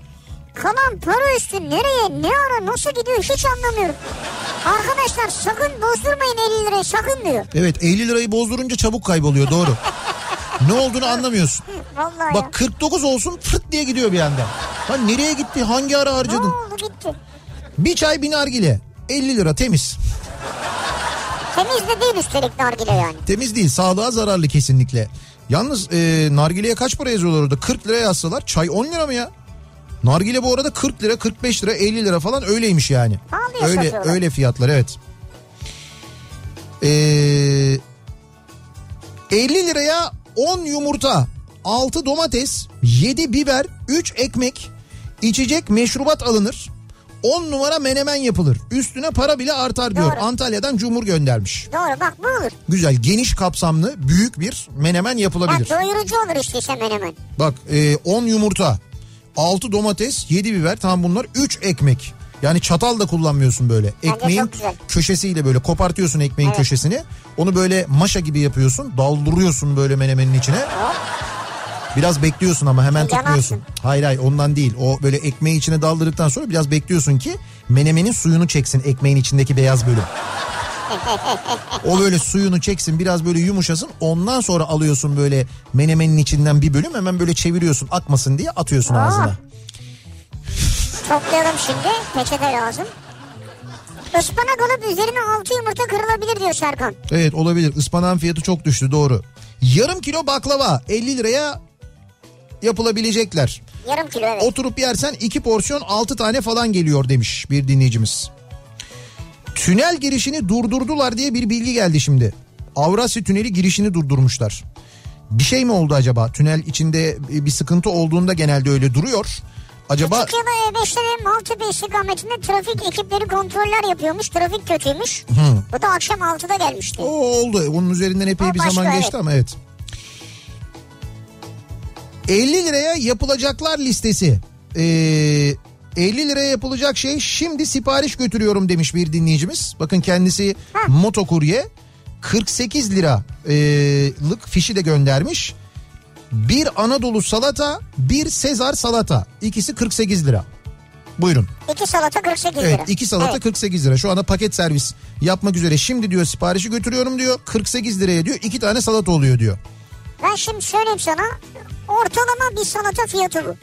B: Kalan para üstü nereye ne ara nasıl gidiyor hiç anlamıyorum. Arkadaşlar sakın bozdurmayın 50 lirayı sakın diyor.
A: Evet 50 lirayı bozdurunca çabuk kayboluyor doğru. ne olduğunu anlamıyorsun.
B: Vallahi ya.
A: Bak 49 olsun fırt diye gidiyor bir anda. Lan nereye gitti hangi ara
B: Ne
A: harcadın?
B: oldu gitti.
A: Bir çay bir nargile 50 lira temiz.
B: Temiz de değil üstelik nargile yani.
A: Temiz değil sağlığa zararlı kesinlikle. Yalnız e, nargileye kaç para yazıyorlar orada? 40 lira yazsalar çay 10 lira mı ya? Nargile bu arada 40 lira 45 lira 50 lira falan öyleymiş yani.
B: Pahalıya
A: Öyle
B: satıyorlar.
A: öyle fiyatlar evet. Ee, 50 liraya 10 yumurta, 6 domates, 7 biber, 3 ekmek, içecek meşrubat alınır. 10 numara menemen yapılır. Üstüne para bile artar diyor.
B: Doğru.
A: Antalya'dan Cumhur göndermiş.
B: Doğru bak bu olur.
A: Güzel geniş kapsamlı büyük bir menemen
B: Ha,
A: yapılabilir.
B: doyurucu olur işte işte menemen.
A: Bak e, 10 yumurta, 6 domates, 7 biber tam bunlar 3 ekmek. Yani çatal da kullanmıyorsun böyle.
B: Bence
A: Ekmeğin
B: çok güzel.
A: köşesiyle böyle kopartıyorsun ekmeğin
B: Evet.
A: köşesini. Onu böyle maşa gibi yapıyorsun. Daldırıyorsun böyle menemenin içine. Biraz bekliyorsun ama hemen
B: Yanarsın.
A: tutmuyorsun. Hayır hayır ondan değil. O böyle ekmeği içine daldırdıktan sonra biraz bekliyorsun ki menemenin suyunu çeksin ekmeğin içindeki beyaz bölüm. O böyle suyunu çeksin biraz böyle yumuşasın. Ondan sonra alıyorsun böyle menemenin içinden bir bölüm hemen böyle çeviriyorsun akmasın diye atıyorsun
B: Aa.
A: ağzına.
B: Toplayalım şimdi. Peçete lazım. Ispanak olup üzerine altı yumurta kırılabilir diyor Serkan.
A: Evet olabilir. Ispanağın fiyatı çok düştü doğru. Yarım kilo baklava 50 liraya yapılabilecekler.
B: Yarım kilo evet.
A: Oturup yersen iki porsiyon altı tane falan geliyor demiş bir dinleyicimiz. Tünel girişini durdurdular diye bir bilgi geldi şimdi. Avrasya Tüneli girişini durdurmuşlar. Bir şey mi oldu acaba? Tünel içinde bir sıkıntı olduğunda genelde öyle duruyor. Acaba
B: Küçük yılda E5'te ve Maltepe istikametinde trafik ekipleri kontroller yapıyormuş. Trafik kötüymüş. Bu da akşam 6'da gelmişti.
A: o oldu. Onun üzerinden epey
B: O
A: bir
B: başka,
A: zaman geçti
B: evet.
A: ama evet. 50 liraya yapılacaklar listesi. Ee, 50 liraya yapılacak şey şimdi sipariş götürüyorum demiş bir dinleyicimiz. Bakın kendisi motokurye 48 liralık fişi de göndermiş. Bir Anadolu salata, bir Sezar salata. İkisi 48 lira. Buyurun.
B: İki salata 48
A: Evet
B: lira.
A: iki salata
B: Evet.
A: 48 lira. Şu anda paket servis yapmak üzere. Şimdi diyor siparişi götürüyorum diyor. 48 liraya diyor iki tane salata oluyor diyor.
B: Ben şimdi söyleyeyim sana ortalama bir salata fiyatı bu.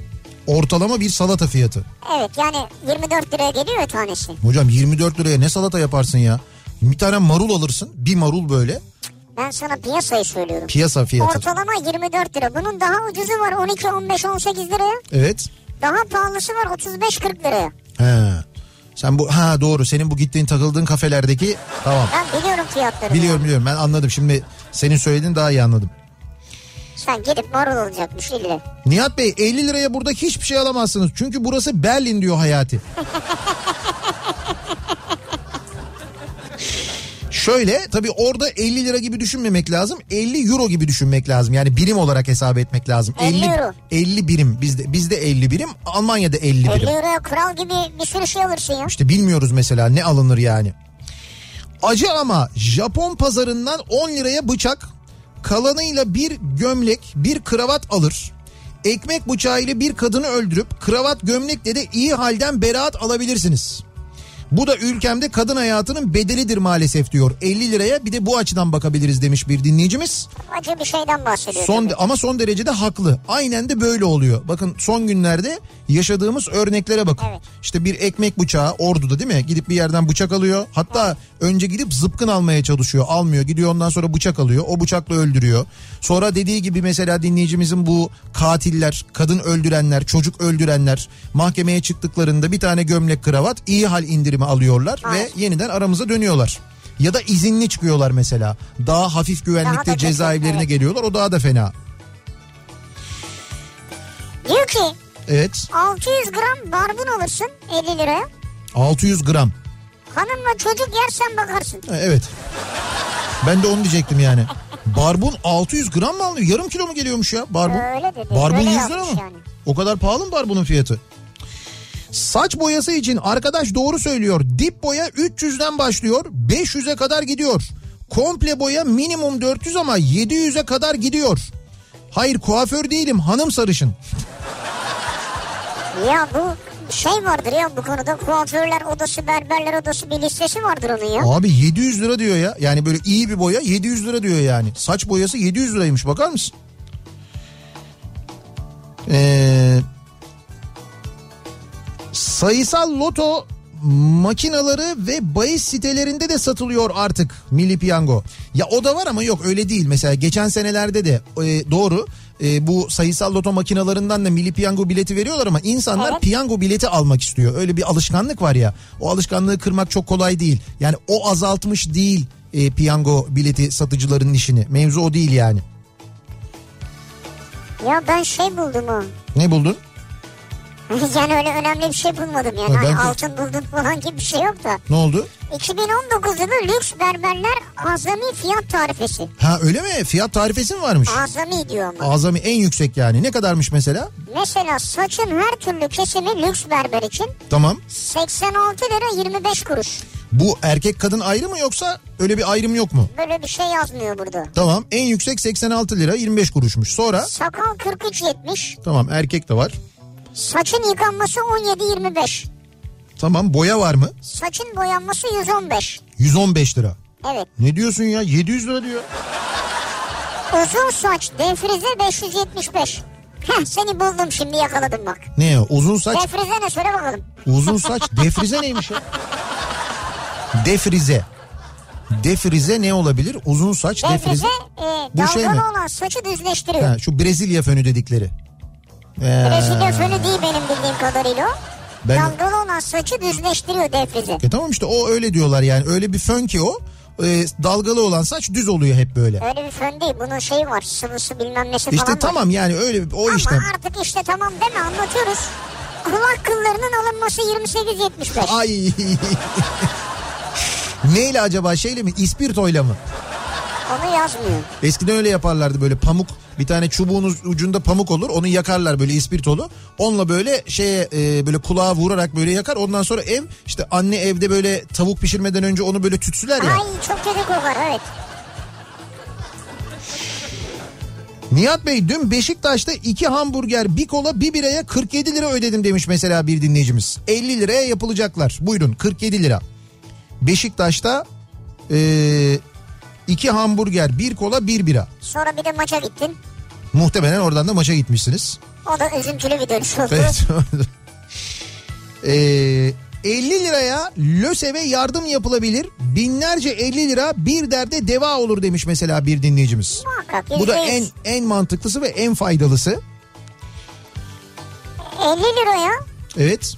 A: Ortalama bir salata fiyatı.
B: Evet yani 24 liraya geliyor ya tanesi.
A: Hocam 24 liraya ne salata yaparsın ya? Bir tane marul alırsın. Bir marul böyle.
B: Ben sana piyasayı söylüyorum.
A: Piyasa fiyatı.
B: Ortalama 24 lira. Bunun daha ucuzu var 12, 15, 18 liraya.
A: Evet.
B: Daha pahalısı var 35, 40 liraya.
A: He. Sen bu ha doğru senin bu gittiğin takıldığın kafelerdeki tamam.
B: Ben biliyorum fiyatları.
A: Biliyorum biliyorum ben anladım şimdi senin söylediğin daha iyi anladım.
B: Sen gidip marul olacakmış ille.
A: Nihat Bey 50 liraya burada hiçbir şey alamazsınız. Çünkü burası Berlin diyor Hayati. Şöyle tabii orada 50 lira gibi düşünmemek lazım. 50 euro gibi düşünmek lazım. Yani birim olarak hesap etmek lazım.
B: 50 euro.
A: 50 birim bizde bizde 50 birim, Almanya'da 50
B: 50
A: birim.
B: euroya kral gibi bir sürü şey alırsın ya.
A: İşte bilmiyoruz mesela ne alınır yani. Acı ama Japon pazarından 10 liraya bıçak, kalanıyla bir gömlek, bir kravat alır. Ekmek bıçağıyla bir kadını öldürüp kravat gömlekle de iyi halden beraat alabilirsiniz. Bu da ülkemde kadın hayatının bedelidir maalesef diyor. 50 liraya bir de bu açıdan bakabiliriz demiş bir dinleyicimiz.
B: Acı bir şeyden bahsediyorum.
A: Son de- ama son derecede haklı. Aynen de böyle oluyor. Bakın son günlerde yaşadığımız örneklere bakın.
B: Evet.
A: İşte bir ekmek bıçağı Ordu'da değil mi? Gidip bir yerden bıçak alıyor. Hatta önce gidip zıpkın almaya çalışıyor. Almıyor. Gidiyor ondan sonra bıçak alıyor. O bıçakla öldürüyor. Sonra dediği gibi mesela dinleyicimizin bu katiller, kadın öldürenler, çocuk öldürenler mahkemeye çıktıklarında bir tane gömlek kravat iyi hal indirimi alıyorlar
B: Evet.
A: ve yeniden aramıza dönüyorlar. Ya da izinli çıkıyorlar mesela. Daha hafif güvenlikte
B: Daha da kötü,
A: cezaevlerine
B: evet.
A: geliyorlar. O daha da fena.
B: Diyor ki
A: Evet.
B: 600 gram barbun alırsın 50 liraya.
A: 600 gram.
B: Hanımla çocuk yersen bakarsın.
A: Ha, Evet. Ben de onu diyecektim yani. Barbun 600 gram mı alıyor? Yarım kilo mu geliyormuş ya barbun?
B: Öyle dedi,
A: Barbun
B: öyle
A: 100 lira
B: yapmış
A: mı?
B: yani.
A: O kadar pahalı mı barbunun fiyatı? Saç boyası için arkadaş doğru söylüyor. Dip boya 300'den başlıyor, 500'e kadar gidiyor. Komple boya minimum 400 ama 700'e kadar gidiyor. Hayır kuaför değilim hanım sarışın.
B: Ya bu şey vardır ya bu konuda kuaförler odası, berberler odası bir listesi vardır onun ya.
A: Abi 700 lira diyor ya. Yani böyle iyi bir boya 700 lira diyor yani. Saç boyası 700 liraymış bakar mısın? Ee, sayısal loto makinaları ve bahis sitelerinde de satılıyor artık Milli Piyango. Ya o da var ama yok öyle değil. Mesela geçen senelerde de e, doğru e, bu sayısal loto makinalarından da Milli Piyango bileti veriyorlar ama insanlar
B: Evet.
A: piyango bileti almak istiyor. Öyle bir alışkanlık var ya. O alışkanlığı kırmak çok kolay değil. Yani o azaltmış değil e, piyango bileti satıcılarının işini. Mevzu o değil yani.
B: Ya ben şey buldum o.
A: Ne buldun?
B: yani öyle önemli bir şey bulmadım yani.
A: Ha, ben-
B: Hani altın buldum falan gibi bir şey yok da.
A: Ne oldu?
B: 2019 yılı lüks berberler azami fiyat tarifesi.
A: Ha öyle mi? Fiyat tarifesi mi varmış?
B: Azami diyor ama.
A: Azami en yüksek yani. Ne kadarmış mesela?
B: Mesela saçın her türlü kesimi lüks berber için
A: Tamam.
B: 86 lira 25 kuruş.
A: Bu erkek kadın ayrı mı yoksa öyle bir ayrım yok mu?
B: Böyle bir şey yazmıyor burada.
A: Tamam. En yüksek 86 lira 25 kuruşmuş. Sonra
B: Sakal 43.70,
A: tamam erkek de var.
B: saçın yıkanması 17.25,
A: Tamam boya var mı?
B: saçın boyanması 115.
A: 115 lira.
B: Evet.
A: Ne diyorsun ya? 700 lira diyor.
B: Uzun saç defrize 575. Heh seni buldum şimdi yakaladım bak.
A: Ne ya? Uzun saç
B: Defrize ne söyle bakalım.
A: Uzun saç defrize neymiş ya? Defrize. Defrize ne olabilir? Uzun saç defrize.
B: Defrize e,
A: Bu şey
B: dalgalı
A: mi?
B: olan saçı düzleştiriyor.
A: Ha, şu Brezilya fönü dedikleri. Ee,
B: Brezilya fönü değil benim bildiğim kadarıyla o.
A: ben,
B: Dalgalı olan saçı düzleştiriyor defrize.
A: E tamam işte o öyle diyorlar yani. Öyle bir fön ki o. e, dalgalı olan saç düz oluyor hep böyle.
B: Öyle bir fön değil. Bunun şeyi var. Sıvısı bilmem nesi
A: İşte
B: falan var.
A: tamam yani öyle bir- o
B: Ama
A: işte.
B: artık işte tamam deme anlatıyoruz. Kulak kıllarının alınması 28.75.
A: Ay. Neyle acaba şeyle mi? İspirtoyla mı?
B: Onu yazmıyor.
A: Eskiden öyle yaparlardı böyle pamuk bir tane çubuğun uz- ucunda pamuk olur onu yakarlar böyle ispirtolu. Onunla böyle şeye e, böyle kulağa vurarak böyle yakar ondan sonra ev işte anne evde böyle tavuk pişirmeden önce onu böyle tütsüler ya.
B: Ay çok kötü kokar evet.
A: Nihat Bey dün Beşiktaş'ta iki hamburger bir kola bir biraya 47 lira ödedim demiş mesela bir dinleyicimiz. 50 liraya yapılacaklar. Buyurun 47 lira. Beşiktaş'ta eee, iki hamburger bir kola bir bira.
B: Sonra bir de maça gittin.
A: Muhtemelen oradan da maça gitmişsiniz.
B: O da üzüntülü bir dönüş oldu.
A: Evet. Eee, 50 E, liraya LÖSEV'e yardım yapılabilir. Binlerce 50 lira bir derde deva olur demiş mesela bir dinleyicimiz.
B: Muhakkak
A: Bu da
B: yüzde
A: en
B: yüz.
A: en mantıklısı ve en faydalısı.
B: 50 liraya
A: Evet.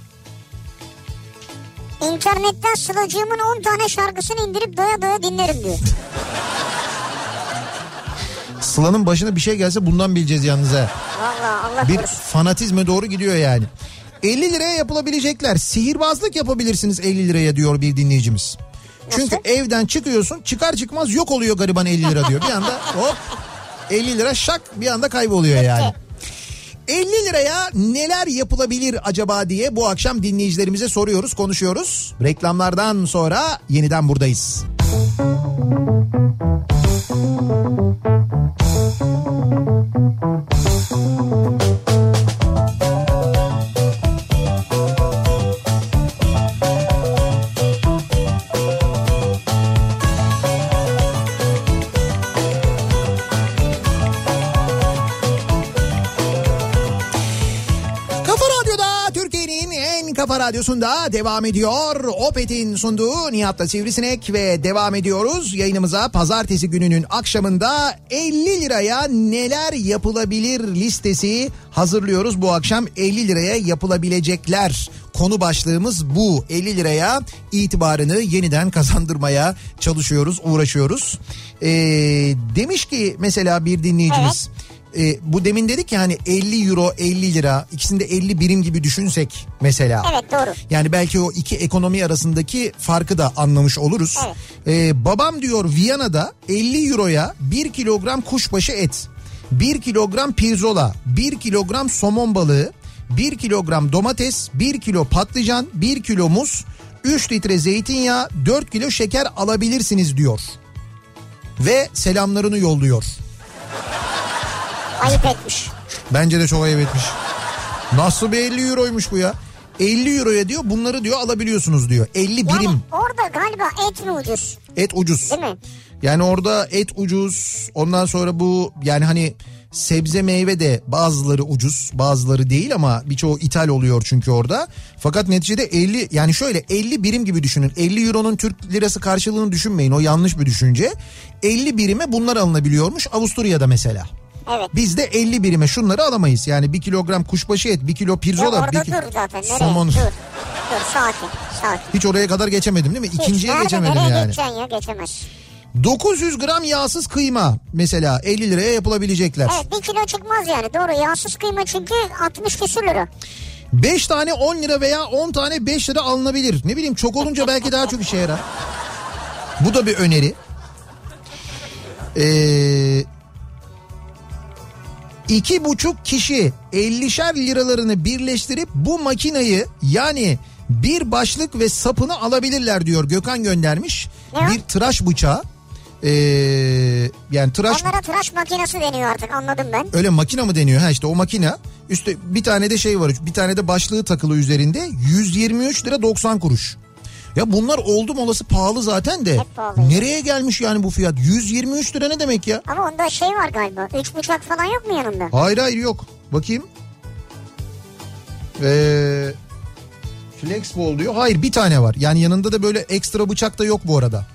B: internetten sılacığımın 10 tane şarkısını indirip doya doya dinlerim diyor.
A: Sıla'nın başına bir şey gelse bundan bileceğiz yalnız ha.
B: Valla Allah
A: Bir
B: korusun.
A: fanatizme doğru gidiyor yani. 50 liraya yapılabilecekler. Sihirbazlık yapabilirsiniz 50 liraya diyor bir dinleyicimiz. Çünkü
B: Nasıl?
A: evden çıkıyorsun çıkar çıkmaz yok oluyor gariban 50 lira diyor. Bir anda hop 50 lira şak bir anda kayboluyor yani. 50 liraya neler yapılabilir acaba diye bu akşam dinleyicilerimize soruyoruz, konuşuyoruz. Reklamlardan sonra yeniden buradayız. Kafa Radyo'da Türkiye'nin en kafa radyosunda devam ediyor. Opet'in sunduğu Nihat'la Sivrisinek ve devam ediyoruz. Yayınımıza pazartesi gününün akşamında 50 liraya neler yapılabilir listesi hazırlıyoruz. Bu akşam 50 liraya yapılabilecekler. Konu başlığımız bu. 50 liraya itibarını yeniden kazandırmaya çalışıyoruz, uğraşıyoruz. Ee, demiş ki mesela bir dinleyicimiz... E, bu demin dedik yani 50 euro 50 lira ikisinde 50 birim gibi düşünsek mesela.
B: Evet doğru.
A: Yani belki o iki ekonomi arasındaki farkı da anlamış oluruz. E, babam diyor Viyana'da 50 euroya 1 kilogram kuşbaşı et, 1 kilogram pirzola, 1 kilogram somon balığı, 1 kilogram domates, 1 kilo patlıcan, 1 kilo muz, 3 litre zeytinyağı, 4 kilo şeker alabilirsiniz diyor. Ve selamlarını yolluyor.
B: Ayıp etmiş.
A: Bence de çok ayıp etmiş. Nasıl bir 50 euroymuş bu ya? 50 euroya diyor bunları diyor alabiliyorsunuz diyor. 50
B: Yani
A: birim
B: orada galiba et mi ucuz
A: et ucuz.
B: değil mi?
A: Yani orada et ucuz ondan sonra bu yani hani sebze meyve de bazıları ucuz bazıları değil ama birçoğu ithal oluyor çünkü orada. Fakat neticede 50 yani şöyle 50 birim gibi düşünün 50 euronun Türk lirası karşılığını düşünmeyin o yanlış bir düşünce. 50 birime bunlar alınabiliyormuş Avusturya'da mesela.
B: Evet.
A: Biz de 50 birime şunları alamayız. Yani 1 kilogram kuşbaşı et, 1 kilo
B: Ya
A: pirzola,
B: orada
A: 1 kilo
B: dur zaten. Nereye?
A: somon.
B: Dur. Dur sakin. Sakin.
A: Hiç oraya kadar geçemedim değil mi?
B: Hiç.
A: İkinciye
B: Nerede,
A: geçemedim
B: nereye
A: yani.
B: geçeceksin ya geçemez.
A: 900 gram yağsız kıyma mesela 50 liraya yapılabilecekler.
B: Evet bir kilo çıkmaz yani doğru yağsız kıyma çünkü 60 küsür lira.
A: 5 tane 10 lira veya 10 tane 5 lira alınabilir. Ne bileyim çok olunca belki daha çok işe yarar. Bu da bir öneri. Ee, iki buçuk kişi 50'şer liralarını birleştirip bu makinayı yani bir başlık ve sapını alabilirler diyor Gökhan göndermiş.
B: Ne?
A: Bir tıraş bıçağı. Ee, yani tıraş
B: Onlara tıraş makinesi deniyor artık anladım ben.
A: Öyle makine mı deniyor? Ha işte o makine. Üstte bir tane de şey var. Bir tane de başlığı takılı üzerinde. 123 lira 90 kuruş. Ya bunlar oldum olası pahalı zaten de.
B: Hep pahalı.
A: Nereye gelmiş yani bu fiyat? 123 lira ne demek ya?
B: Ama onda şey var galiba. Üç bıçak falan yok mu yanında?
A: Hayır hayır yok. Bakayım. Ee, Flexball diyor. Hayır bir tane var. Yani yanında da böyle ekstra bıçak da yok bu arada.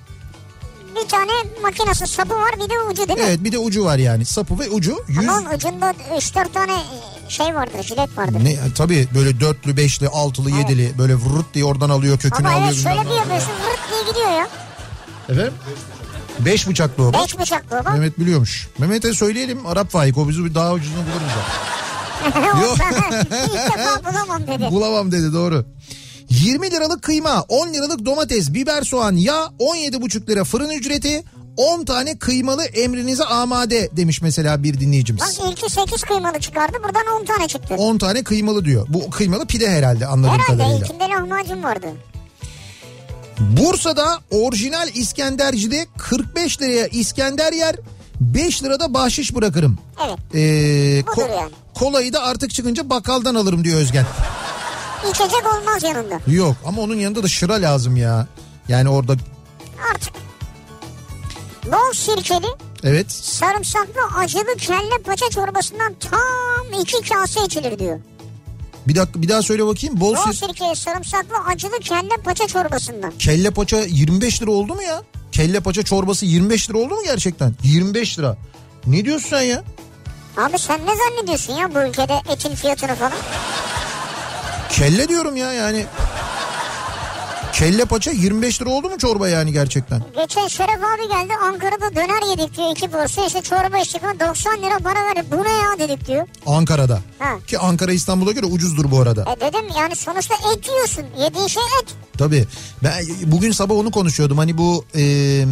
B: Bir tane makinesi sapı var bir de ucu değil mi?
A: Evet bir de ucu var yani. Sapı ve ucu. 100...
B: Ama onun ucunda 3-4 tane şey vardır jilet vardır.
A: Ne, tabii böyle dörtlü, beşli, altılı, yedili böyle vırırt diye oradan alıyor kökünü
B: Ama
A: alıyor.
B: evet şöyle
A: bilmem ne
B: bir yapıyorsun vırt diye gidiyor ya.
A: Efendim? Beş bıçaklı o.
B: Beş bıçak baba.
A: Mehmet biliyormuş. Mehmet'e söyleyelim Arap faik o bizi bir daha ucuzunu bulur bize.
B: *laughs*
A: Yok.
B: İlk defa bulamam dedi.
A: Bulamam dedi doğru. 20 liralık kıyma, 10 liralık domates, biber soğan, yağ, 17,5 lira fırın ücreti, 10 tane kıymalı emrinize amade demiş mesela bir
B: Bak
A: dinleyicimiz.
B: ilki 8 kıymalı çıkardı buradan 10 tane çıktı.
A: 10 tane kıymalı diyor. Bu kıymalı pide herhalde anladığım
B: Herhalde
A: kadarıyla.
B: ilkinde lahmacun vardı.
A: Bursa'da orijinal İskenderci'de 45 liraya İskender yer, 5 lirada bahşiş bırakırım.
B: Evet.
A: Ee, ko-
B: yani.
A: kolayı da artık çıkınca bakkaldan alırım diyor Özgen.
B: İçecek olmaz yanında.
A: Yok ama onun yanında da şıra lazım ya. Yani orada
B: Artık. Bol sirkeli,
A: evet
B: sarımsaklı, acılı kelle paça çorbasından tam iki kase içilir diyor.
A: bir dakika bir daha söyle bakayım. Bol
B: Bol
A: sir-
B: sirkeli, sarımsaklı, acılı kelle paça çorbasından.
A: Kelle paça 25 lira oldu mu ya? Kelle paça çorbası 25 lira oldu mu gerçekten? 25 lira. Ne diyorsun sen ya?
B: Abi sen ne zannediyorsun ya bu ülkede etin fiyatını falan?
A: Kelle diyorum ya yani. Kelle paça 25 lira oldu mu çorba yani gerçekten?
B: Geçen Şeref abi geldi Ankara'da döner yedik diyor iki porsiyon işte çorba içtik ama 90 lira para verdi bu ne ya dedik diyor.
A: Ankara'da.
B: Ha.
A: Ki Ankara İstanbul'a göre ucuzdur bu arada.
B: E dedim yani sonuçta et yiyorsun yediğin şey et.
A: Tabii. Ben bugün sabah onu konuşuyordum. Hani bu eee,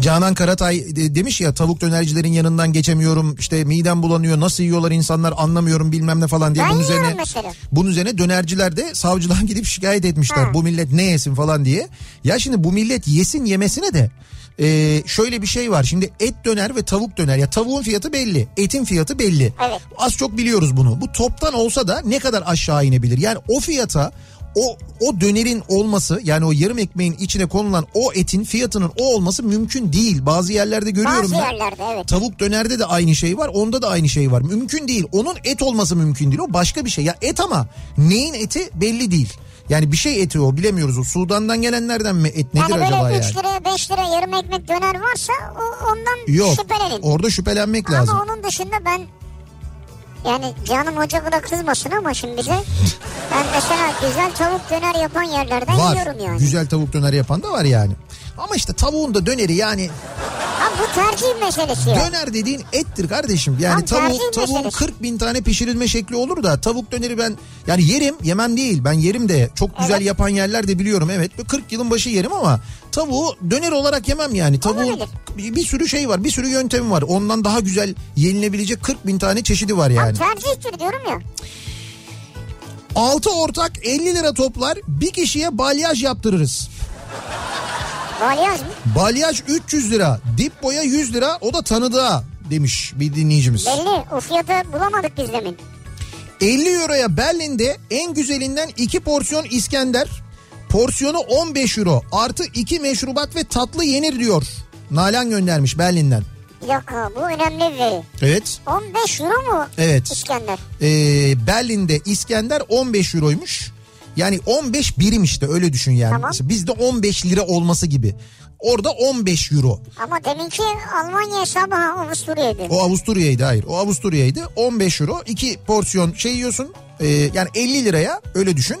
A: Canan Karatay de- demiş ya tavuk dönercilerin yanından geçemiyorum. işte midem bulanıyor. Nasıl yiyorlar insanlar anlamıyorum bilmem ne falan diye.
B: Ben
A: bunun
B: yiyorum
A: üzerine
B: mesela.
A: bunun üzerine dönerciler de savcılığa *laughs* gidip şikayet etmişler.
B: Ha.
A: Bu millet ne yesin falan diye. Ya şimdi bu millet yesin yemesine de eee, şöyle bir şey var. Şimdi et döner ve tavuk döner. Ya tavuğun fiyatı belli. Etin fiyatı belli.
B: Evet.
A: Az çok biliyoruz bunu. Bu toptan olsa da ne kadar aşağı inebilir? Yani o fiyata o o dönerin olması yani o yarım ekmeğin içine konulan o etin fiyatının o olması mümkün değil. Bazı yerlerde görüyorum
B: Bazı
A: ben.
B: yerlerde evet.
A: Tavuk dönerde de aynı şey var. Onda da aynı şey var. Mümkün değil. Onun et olması mümkün değil. O başka bir şey. Ya et ama neyin eti belli değil. Yani bir şey eti o bilemiyoruz. O Sudan'dan gelenlerden mi et nedir
B: Yani
A: acaba
B: böyle 3
A: yani?
B: liraya 5 liraya yarım ekmek döner varsa o, ondan
A: Yok.
B: şüphelenin.
A: Orada şüphelenmek
B: ama
A: lazım.
B: onun dışında ben yani canım hoca buna kızmasın ama şimdi bize ben mesela güzel tavuk döner yapan yerlerden
A: Var.
B: yiyorum yani.
A: Güzel tavuk döneri yapan da var yani. Ama işte tavuğun da döneri yani
B: Ama bu tercih meselesi. ya.
A: Döner dediğin ettir kardeşim. Yani
B: Abi
A: tavuğun,
B: tercih
A: tavuğun
B: meselesi.
A: 40 bin tane pişirilme şekli olur da tavuk döneri ben yani yerim yemem değil. Ben yerim de çok güzel
B: Evet.
A: yapan yerler de biliyorum evet. Bu 40 yılın başı yerim ama tavuğu döner olarak yemem yani. Tavuğun
B: Olabilir.
A: bir bir sürü şey var bir sürü yöntemi var. Ondan daha güzel yenilebilecek 40 bin tane çeşidi var yani.
B: Abi tercihtir diyorum ya.
A: 6 ortak 50 lira toplar bir kişiye balyaj yaptırırız.
B: Balyaj mı?
A: Balyaj 300 lira dip boya 100 lira o da tanıdığa demiş bir dinleyicimiz.
B: Belli. O fiyatı bulamadık biz demin.
A: 50 euroya Berlin'de en güzelinden 2 porsiyon İskender. Porsiyonu 15 euro. Artı 2 meşrubat ve tatlı yenir diyor. Nalan göndermiş Berlin'den.
B: Bir dakika bu önemli bir veri.
A: Evet.
B: 15 euro mu
A: Evet.
B: İskender?
A: Ee, Berlin'de İskender 15 euroymuş. Yani 15 birim işte öyle düşün yani.
B: Tamam.
A: Mesela Bizde 15 lira olması gibi. Orada 15 euro.
B: Ama deminki Almanya hesabı ha Avusturya'ydı.
A: O Avusturya'ydı hayır. O Avusturya'ydı. 15 euro. 2 porsiyon şey yiyorsun. e, yani 50 liraya öyle düşün.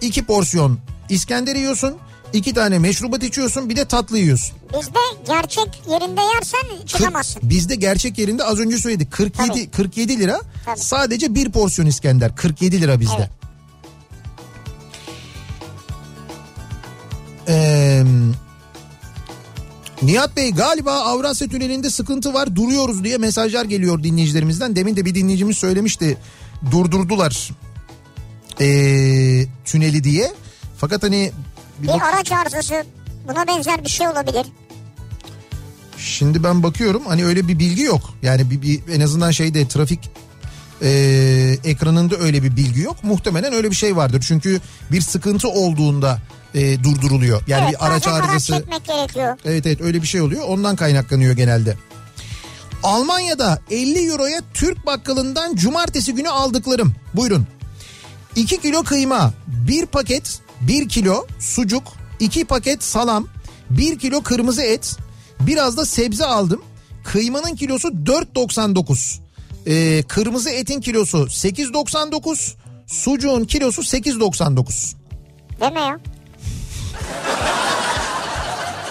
A: 2 porsiyon İskender yiyorsun. 2 tane meşrubat içiyorsun. Bir de tatlı yiyorsun.
B: Bizde gerçek yerinde yersen
A: Kırk-
B: çıkamazsın.
A: bizde gerçek yerinde az önce söyledik. 47
B: Tabii.
A: 47 lira.
B: Tabii.
A: Sadece bir porsiyon İskender. 47 lira bizde.
B: Evet.
A: Eee Nihat Bey galiba Avrasya Tüneli'nde sıkıntı var duruyoruz diye mesajlar geliyor dinleyicilerimizden. Demin de bir dinleyicimiz söylemişti durdurdular eee, tüneli diye. Fakat hani bir
B: Bir
A: bak-
B: araç arızası buna benzer bir şey olabilir.
A: şimdi ben bakıyorum hani öyle bir bilgi yok. Yani bir, bir- en azından şeyde trafik eee, ekranında öyle bir bilgi yok. Muhtemelen öyle bir şey vardır. Çünkü bir sıkıntı olduğunda eee, durduruluyor. Yani
B: evet
A: bir araç
B: bazen
A: arızası.
B: araç çekmek gerekiyor.
A: Evet evet öyle bir şey oluyor. Ondan kaynaklanıyor genelde. Almanya'da 50 euroya Türk bakkalından cumartesi günü aldıklarım. Buyurun. 2 kilo kıyma, 1 paket, 1 kilo sucuk, 2 paket salam, 1 kilo kırmızı et, biraz da sebze aldım. Kıymanın kilosu 4.99. Ee, kırmızı etin kilosu 8.99. Sucuğun kilosu 8.99.
B: Deme ya.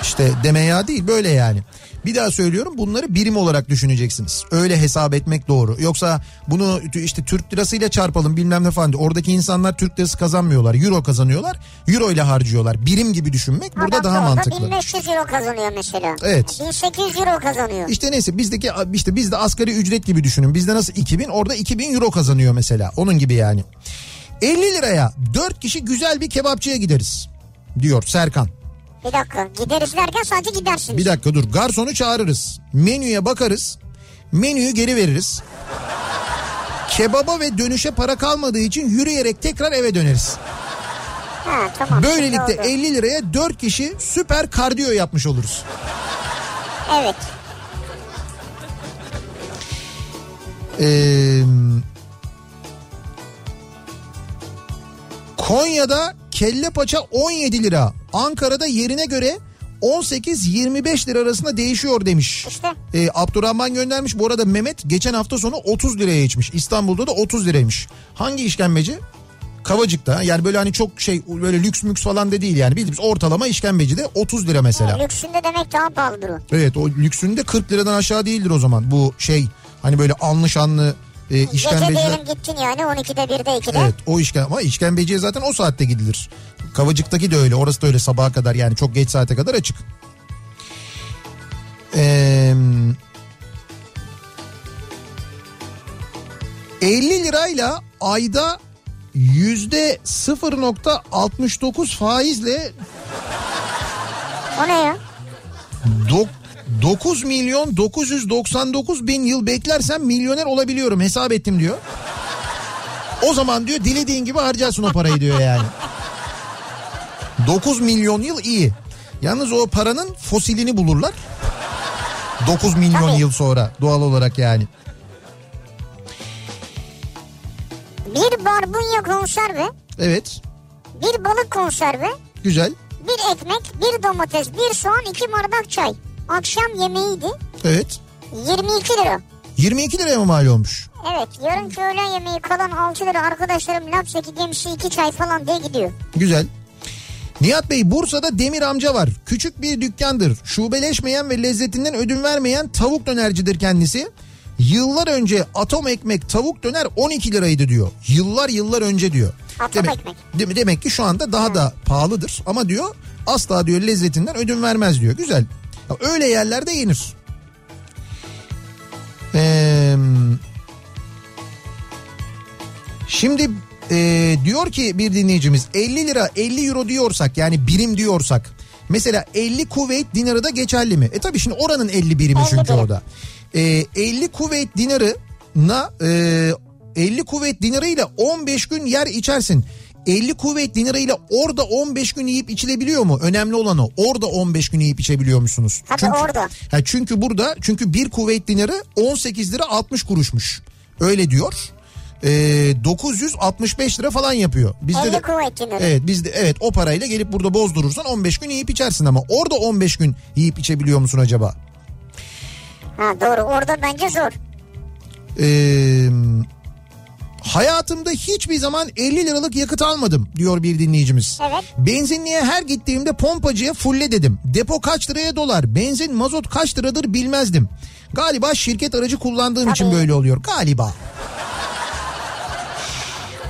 A: İşte demeya değil böyle yani. Bir daha söylüyorum bunları birim olarak düşüneceksiniz. Öyle hesap etmek doğru. Yoksa bunu t- işte Türk lirasıyla çarpalım bilmem ne falan. diye. Oradaki insanlar Türk lirası kazanmıyorlar. Euro kazanıyorlar. Euro ile harcıyorlar. Birim gibi düşünmek burada
B: Adam
A: daha
B: da orada
A: mantıklı.
B: 1500 euro kazanıyor mesela.
A: Evet.
B: 1800 euro kazanıyor.
A: İşte neyse bizdeki işte bizde asgari ücret gibi düşünün. Bizde nasıl 2000 orada 2000 euro kazanıyor mesela. Onun gibi yani. 50 liraya 4 kişi güzel bir kebapçıya gideriz diyor Serkan.
B: Bir dakika gideriz derken sadece gidersiniz.
A: Bir dakika dur garsonu çağırırız. Menüye bakarız. Menüyü geri veririz. Kebaba ve dönüşe para kalmadığı için yürüyerek tekrar eve döneriz.
B: Ha, tamam,
A: Böylelikle
B: şimdi oldu.
A: 50 liraya 4 kişi süper kardiyo yapmış oluruz.
B: Evet.
A: Ee, Konya'da kelle paça 17 lira. Ankara'da yerine göre 18-25 lira arasında değişiyor demiş.
B: İşte.
A: Ee, Abdurrahman göndermiş. Bu arada Mehmet geçen hafta sonu 30 liraya içmiş. İstanbul'da da 30 liraymış. Hangi işkembeci? Kavacık'ta. Yani böyle hani çok şey böyle lüks müks falan da değil yani. Bildiğimiz ortalama işkembeci de 30 lira mesela.
B: Lüksünde demek daha pahalıdır o.
A: Evet o lüksünde 40 liradan aşağı değildir o zaman. Bu şey hani böyle anlı şanlı e,
B: Gece
A: işkembeciler.
B: diyelim gittin yani 12'de 1'de 2'de.
A: Evet o işkembe ama işkembeciye zaten o saatte gidilir. Kavacıktaki de öyle orası da öyle sabaha kadar yani çok geç saate kadar açık. Ee, 50 lirayla ayda yüzde 0.69 faizle
B: O ne ya?
A: 9 milyon 999 bin yıl beklersem milyoner olabiliyorum hesap ettim diyor. O zaman diyor dilediğin gibi harcarsın o parayı diyor yani. 9 milyon yıl iyi. Yalnız o paranın fosilini bulurlar. 9 milyon
B: Tabii.
A: yıl sonra doğal olarak yani.
B: Bir barbunya konserve,
A: Evet
B: bir balık konserve,
A: güzel.
B: bir ekmek, bir domates, bir soğan, iki bardak çay. Akşam yemeğiydi.
A: Evet
B: 22 lira.
A: 22 liraya mı mal olmuş?
B: Evet yarınki öğlen yemeği kalan 6 lira arkadaşlarım Lapseki gemisi 2 çay falan diye gidiyor.
A: Güzel. Nihat Bey Bursa'da Demir amca var. Küçük bir dükkandır. Şubeleşmeyen ve lezzetinden ödün vermeyen tavuk dönercidir kendisi. Yıllar önce atom ekmek tavuk döner 12 liraydı diyor. Yıllar yıllar önce diyor.
B: Atom ekmek.
A: Dem- demek ki şu anda daha da pahalıdır ama diyor asla diyor lezzetinden ödün vermez diyor. Güzel. Ya öyle yerlerde yenir. Eee Şimdi e, diyor ki bir dinleyicimiz 50 lira 50 euro diyorsak yani birim diyorsak mesela 50 Kuveyt dinarı da geçerli mi? E tabii şimdi oranın 50 birimi
B: 50
A: çünkü
B: birim.
A: orada. E, 50 Kuveyt dinarına e, 50 Kuveyt dinarı ile 15 gün yer içersin. 50 kuvvet dinarı ile orada 15 gün yiyip içilebiliyor mu? Önemli olan o. Orada 15 gün yiyip içebiliyor musunuz?
B: Tabii orada.
A: Ha çünkü burada çünkü bir kuvvet dinarı 18 lira 60 kuruşmuş. Öyle diyor. Ee, 965 lira falan yapıyor. Bizde
B: 50
A: de,
B: kuvvet dinarı.
A: Evet bizde evet o parayla gelip burada bozdurursan 15 gün yiyip içersin ama orada 15 gün yiyip içebiliyor musun acaba?
B: Ha, doğru orada bence zor.
A: Ee, hayatımda hiçbir zaman 50 liralık yakıt almadım diyor bir dinleyicimiz.
B: Evet.
A: Benzinliğe her gittiğimde pompacıya fulle dedim. Depo kaç liraya dolar, benzin mazot kaç liradır bilmezdim. Galiba şirket aracı kullandığım için
B: Tabii.
A: böyle oluyor galiba.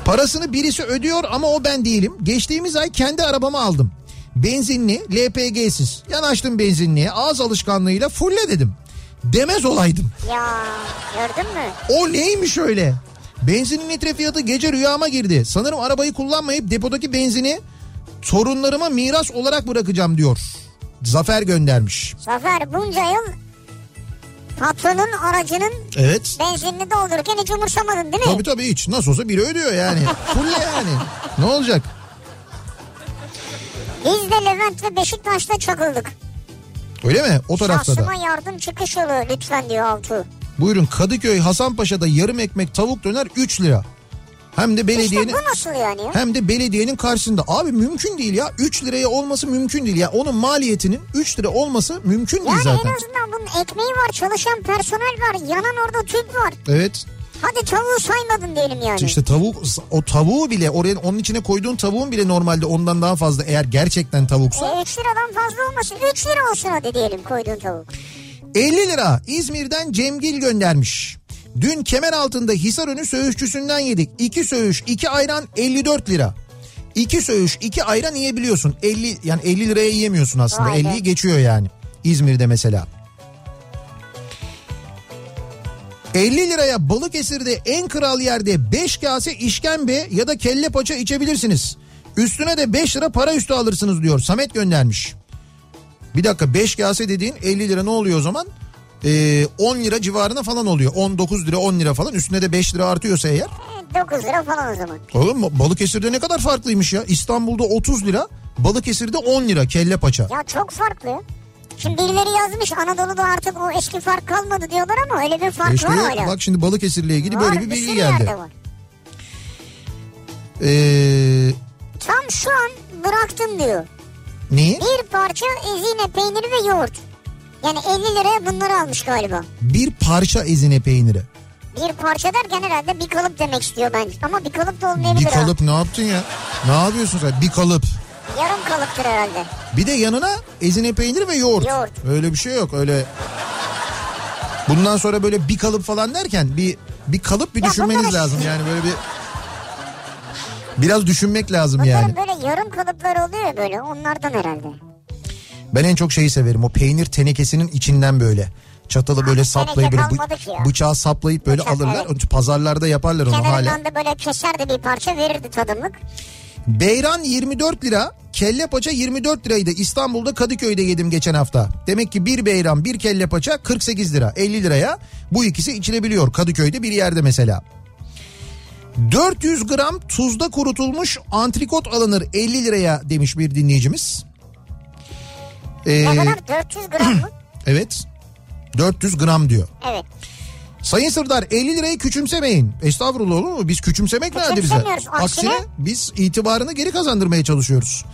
A: Parasını birisi ödüyor ama o ben değilim. Geçtiğimiz ay kendi arabamı aldım. Benzinli, LPG'siz. Yanaştım benzinliğe ağız alışkanlığıyla fulle dedim. Demez olaydım.
B: Ya gördün mü?
A: O neymiş öyle? Benzinin litre fiyatı gece rüyama girdi. Sanırım arabayı kullanmayıp depodaki benzini torunlarıma miras olarak bırakacağım diyor. Zafer göndermiş.
B: Zafer bunca yıl patronun aracının
A: Evet.
B: benzinini doldururken hiç umursamadın değil mi?
A: Tabii tabii hiç. Nasıl olsa biri ödüyor yani. Full yani. Ne olacak?
B: Biz de Levent ve Beşiktaş'ta çakıldık.
A: Öyle mi? O tarafta da.
B: Şahsıma yardım çıkış yolu lütfen diyor Altuğ.
A: Buyurun Kadıköy Hasanpaşa'da yarım ekmek tavuk döner 3 lira. Hem de
B: İşte
A: belediyenin...
B: bu nasıl yani? ya?
A: Hem de belediyenin karşısında. Abi mümkün değil ya. 3 liraya olması mümkün değil ya. Onun maliyetinin 3 lira olması mümkün değil
B: Yani
A: zaten.
B: en azından bunun ekmeği var, çalışan personel var, yanan orada tüp var.
A: Evet.
B: Hadi tavuğu saymadın diyelim yani.
A: İşte tavuk o tavuğu bile oraya onun içine koyduğun tavuğun bile normalde ondan daha fazla eğer gerçekten tavuksa
B: E, 3 liradan fazla olmasın. 3 lira olsun hadi diyelim koyduğun tavuk.
A: 50 lira İzmir'den Cemgil göndermiş. Dün kemer altında Hisarönü söğüşçüsünden yedik. 2 söğüş 2 ayran 54 lira. 2 söğüş 2 ayran yiyebiliyorsun. 50 yani 50 liraya yiyemiyorsun aslında.
B: Vay be.
A: 50'yi geçiyor yani. İzmir'de mesela. 50 liraya Balıkesir'de en kral yerde 5 kase işkembe ya da kelle paça içebilirsiniz. Üstüne de 5 lira para üstü alırsınız diyor. Samet göndermiş. Bir dakika 5 kase dediğin 50 lira ne oluyor o zaman? Ee, 10 lira civarına falan oluyor. 19 lira 10 lira falan üstüne de 5 lira artıyorsa eğer.
B: E, 9 lira falan o zaman.
A: Oğlum ba- Balıkesir'de ne kadar farklıymış ya. İstanbul'da 30 lira Balıkesir'de 10 lira kelle paça.
B: Ya çok farklı. Şimdi birileri yazmış Anadolu'da artık o eski fark kalmadı diyorlar ama öyle bir fark
A: E işte
B: var hala.
A: bak şimdi Balıkesir'le ilgili
B: Var,
A: böyle bir
B: sürü
A: bilgi
B: yerde
A: geldi.
B: var.
A: Ee,
B: Tam şu an bıraktım diyor.
A: neyi?
B: Bir parça ezine peyniri ve yoğurt. Yani 50 liraya bunları almış galiba.
A: Bir parça ezine peyniri.
B: Bir parça derken herhalde bir kalıp demek istiyor bence. Ama bir kalıp da
A: Bir
B: olmayabilir o.
A: kalıp ne yaptın ya? Ne yapıyorsun sen? Bir kalıp.
B: Yarım kalıptır herhalde.
A: Bir de yanına ezine peyniri ve yoğurt.
B: Yoğurt.
A: Öyle bir şey yok öyle. Bundan sonra böyle bir kalıp falan derken bir bir kalıp bir
B: Ya
A: düşünmeniz
B: bunları-
A: lazım. Yani böyle bir biraz düşünmek lazım
B: Bunların
A: yani.
B: böyle yarım kalıplar oluyor ya böyle onlardan herhalde.
A: Ben en çok şeyi severim. O peynir tenekesinin içinden böyle çatalı böyle
B: teneke
A: saplayıp böyle bı-
B: kalmadı ki ya.
A: bıçağı saplayıp böyle
B: Bıçak,
A: alırlar. Pazarlarda yaparlar onu hala.
B: Kenarından da böyle keserdi bir parça verirdi tadımlık.
A: Beyran 24 lira, kelle paça 24 liraydı. İstanbul'da Kadıköy'de yedim geçen hafta. Demek ki bir beyran, bir kelle paça 48 lira, 50 liraya. Bu ikisi içilebiliyor Kadıköy'de bir yerde mesela. 400 gram tuzda kurutulmuş antrikot alınır 50 liraya demiş bir dinleyicimiz. Ee,
B: Ne kadar 400
A: *clears throat*
B: gram mı?
A: evet. 400 gram diyor.
B: Evet.
A: Sayın Sırdar 50 lirayı küçümsemeyin. Estağfurullah olur mu? Biz küçümsemek nerede bize?
B: Küçümsemiyoruz, aksine-
A: Aksine biz itibarını geri kazandırmaya çalışıyoruz.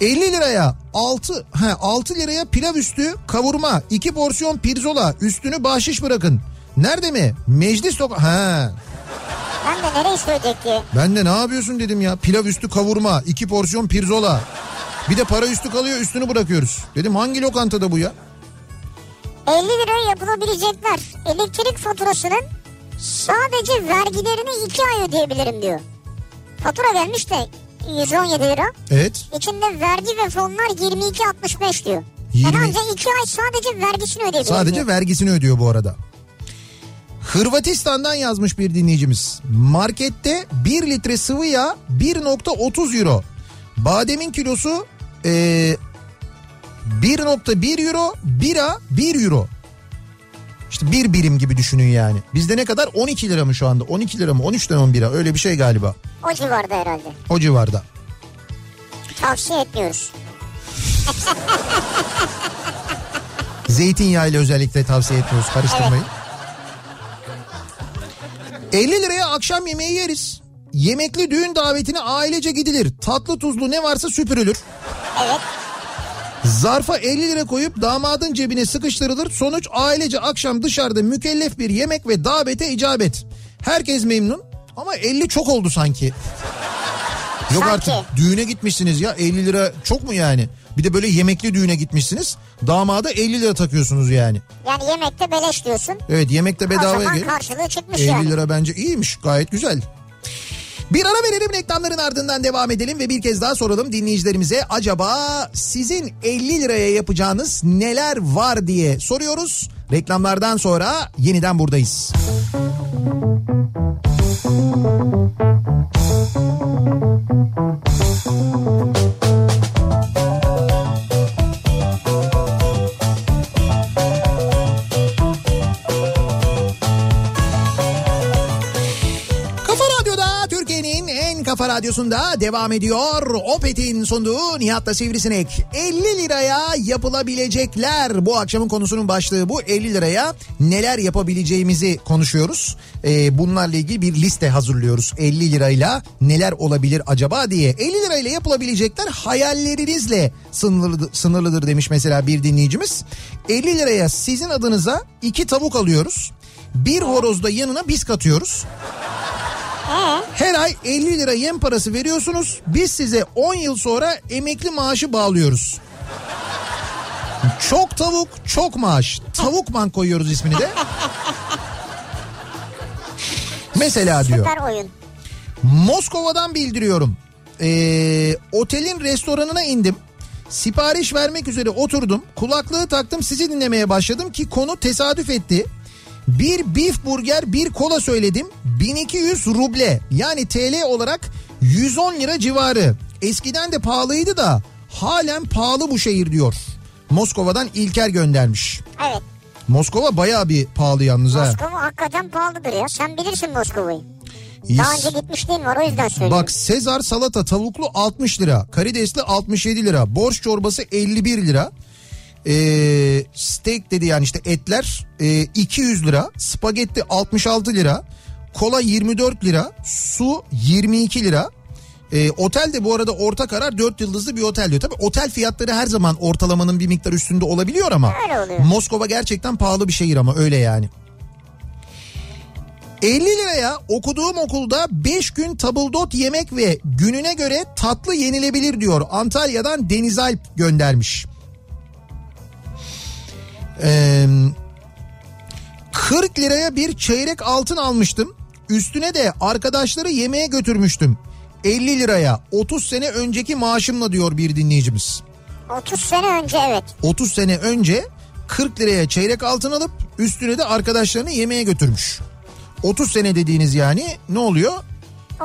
A: 50 liraya 6 he 6 liraya pilav üstü kavurma, 2 porsiyon pirzola, üstünü bahşiş bırakın. Nerede mi? Meclis sokak. He.
B: Ben de nereye söyleyecek diye.
A: Ben de ne yapıyorsun dedim ya. Pilav üstü kavurma, 2 porsiyon pirzola. Bir de para üstü kalıyor, üstünü bırakıyoruz. Dedim hangi lokantada bu ya?
B: 50 liraya yapılabilecekler. Elektrik faturasının sadece vergilerini 2 ay ödeyebilirim diyor. Fatura gelmiş de 117 lira.
A: Evet.
B: İçinde vergi ve fonlar 22.65 diyor. Ben
A: 20
B: ancak 2 ay sadece vergisini ödeyebilirim diyor.
A: Sadece vergisini ödüyor bu arada. Hırvatistan'dan yazmış bir dinleyicimiz. Markette 1 litre sıvı yağ 1.30 euro. Bademin kilosu e, 1.1 euro, bira 1 euro. İşte bir birim gibi düşünün yani. Bizde ne kadar? 12 lira mı şu anda? 12 lira mı? 13 lira mı bira? Öyle bir şey galiba.
B: O civarda herhalde.
A: O civarda.
B: Tavsiye etmiyoruz.
A: Zeytinyağıyla özellikle tavsiye etmiyoruz karıştırmayı. 50 liraya akşam yemeği yeriz. Yemekli düğün davetine ailece gidilir. Tatlı tuzlu ne varsa süpürülür.
B: Evet.
A: Zarfa 50 lira koyup damadın cebine sıkıştırılır. Sonuç ailece akşam dışarıda mükellef bir yemek ve davete icabet. Herkes memnun ama 50 çok oldu sanki. Yok
B: Sanki.
A: artık düğüne gitmişsiniz ya 50 lira çok mu yani? Bir de böyle yemekli düğüne gitmişsiniz. Damada 50 lira takıyorsunuz yani.
B: Yani yemekte beleş diyorsun.
A: Evet yemekte
B: O
A: bedavaya
B: zaman
A: gelir.
B: karşılığı çıkmış
A: 50
B: yani.
A: lira bence iyiymiş gayet güzel. Bir ara verelim reklamların ardından devam edelim ve bir kez daha soralım dinleyicilerimize acaba sizin 50 liraya yapacağınız neler var diye soruyoruz. Reklamlardan sonra yeniden buradayız. Kafa Radyo'da Türkiye'nin en kafa radyosunda devam ediyor. Opet'in sunduğu Nihat'la Sivrisinek. 50 liraya yapılabilecekler. Bu akşamın konusunun başlığı bu. 50 liraya neler yapabileceğimizi konuşuyoruz. Ee, bunlarla ilgili bir liste hazırlıyoruz. 50 lirayla neler olabilir acaba diye. 50 lirayla yapılabilecekler hayallerinizle sınırlı, sınırlıdır demiş mesela bir dinleyicimiz. 50 liraya sizin adınıza iki tavuk alıyoruz. Bir horozda yanına biz katıyoruz. Her ay 50 lira yem parası veriyorsunuz. Biz size 10 yıl sonra emekli maaşı bağlıyoruz. Çok tavuk, çok maaş. Tavukman koyuyoruz ismini de. Mesela diyor.
B: Süper oyun.
A: Moskova'dan bildiriyorum. Ee, otelin restoranına indim. Sipariş vermek üzere oturdum. Kulaklığı taktım sizi dinlemeye başladım ki konu tesadüf etti. Bir beef burger bir kola söyledim. 1200 ruble yani TL olarak 110 lira civarı. Eskiden de pahalıydı da halen pahalı bu şehir diyor. Moskova'dan İlker göndermiş.
B: Evet.
A: Moskova bayağı bir pahalı yalnız ha.
B: Moskova hakikaten pahalıdır ya. Sen bilirsin Moskova'yı. Daha
A: Yes.
B: önce gitmişliğin var o yüzden söylüyorum.
A: Bak Sezar salata tavuklu 60 lira. Karidesli 67 lira. Borç çorbası 51 lira. Ee, steak dedi yani işte etler e, 200 lira. Spagetti 66 lira. Kola 24 lira. Su 22 lira. Ee, otel de bu arada orta karar 4 yıldızlı bir otel diyor. Tabii otel fiyatları her zaman ortalamanın bir miktar üstünde olabiliyor ama.
B: Öyle oluyor.
A: Moskova gerçekten pahalı bir şehir ama öyle yani. 50 liraya okuduğum okulda 5 gün tabldot yemek ve gününe göre tatlı yenilebilir diyor. Antalya'dan Deniz Alp göndermiş. Ee, 40 liraya bir çeyrek altın almıştım. Üstüne de arkadaşları yemeğe götürmüştüm. 50 liraya 30 sene önceki maaşımla diyor bir dinleyicimiz.
B: 30 sene önce evet.
A: 30 sene önce 40 liraya çeyrek altın alıp üstüne de arkadaşlarını yemeğe götürmüş. 30 sene dediğiniz yani ne oluyor?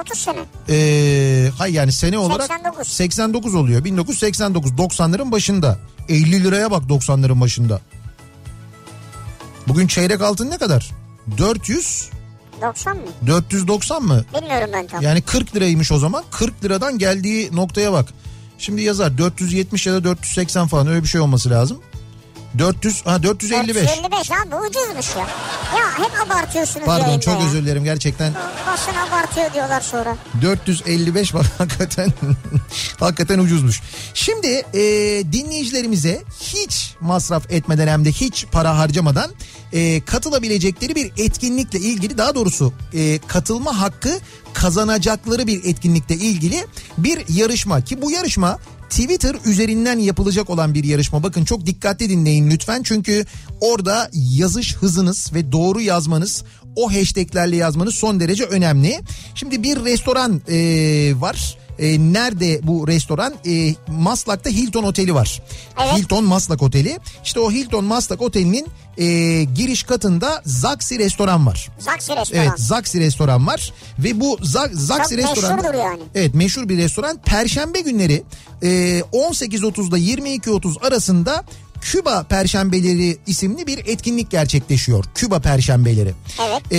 B: 30 sene.
A: Ee, hay yani sene olarak
B: 89.
A: 89 oluyor. 1989 90'ların başında. 50 liraya bak 90'ların başında. Bugün çeyrek altın ne kadar? 400
B: 90 mı?
A: 490 mı?
B: Bilmiyorum ben tam.
A: Yani 40 liraymış o zaman. 40 liradan geldiği noktaya bak. Şimdi yazar 470 ya da 480 falan öyle bir şey olması lazım. 400 ha 455.
B: 55 abi ucuzmuş ya. Ya hep abartıyorsunuz
A: Pardon
B: yayında
A: çok
B: ya.
A: özür dilerim gerçekten.
B: Basın abartıyor diyorlar sonra.
A: 455 bak *laughs* hakikaten hakikaten ucuzmuş. Şimdi e, dinleyicilerimize hiç masraf etmeden hem de hiç para harcamadan e, katılabilecekleri bir etkinlikle ilgili daha doğrusu e, katılma hakkı kazanacakları bir etkinlikle ilgili bir yarışma ki bu yarışma Twitter üzerinden yapılacak olan bir yarışma. Bakın çok dikkatli dinleyin lütfen. Çünkü orada yazış hızınız ve doğru yazmanız o hashtaglerle yazmanız son derece önemli. Şimdi bir restoran e, var. E, nerede bu restoran? E, Maslak'ta Hilton Oteli var.
B: Evet.
A: Hilton Maslak Oteli. İşte o Hilton Maslak Oteli'nin e, giriş katında Zaxi restoran var.
B: Zaksi restoran.
A: Evet Zaxi restoran var ve bu Za- Zaxi
B: Çok
A: restoran
B: meşhurdur yani.
A: Evet meşhur bir restoran Perşembe günleri e, 18.30'da 22.30 arasında Küba Perşembeleri isimli bir etkinlik gerçekleşiyor. Küba Perşembeleri.
B: Evet.
A: E,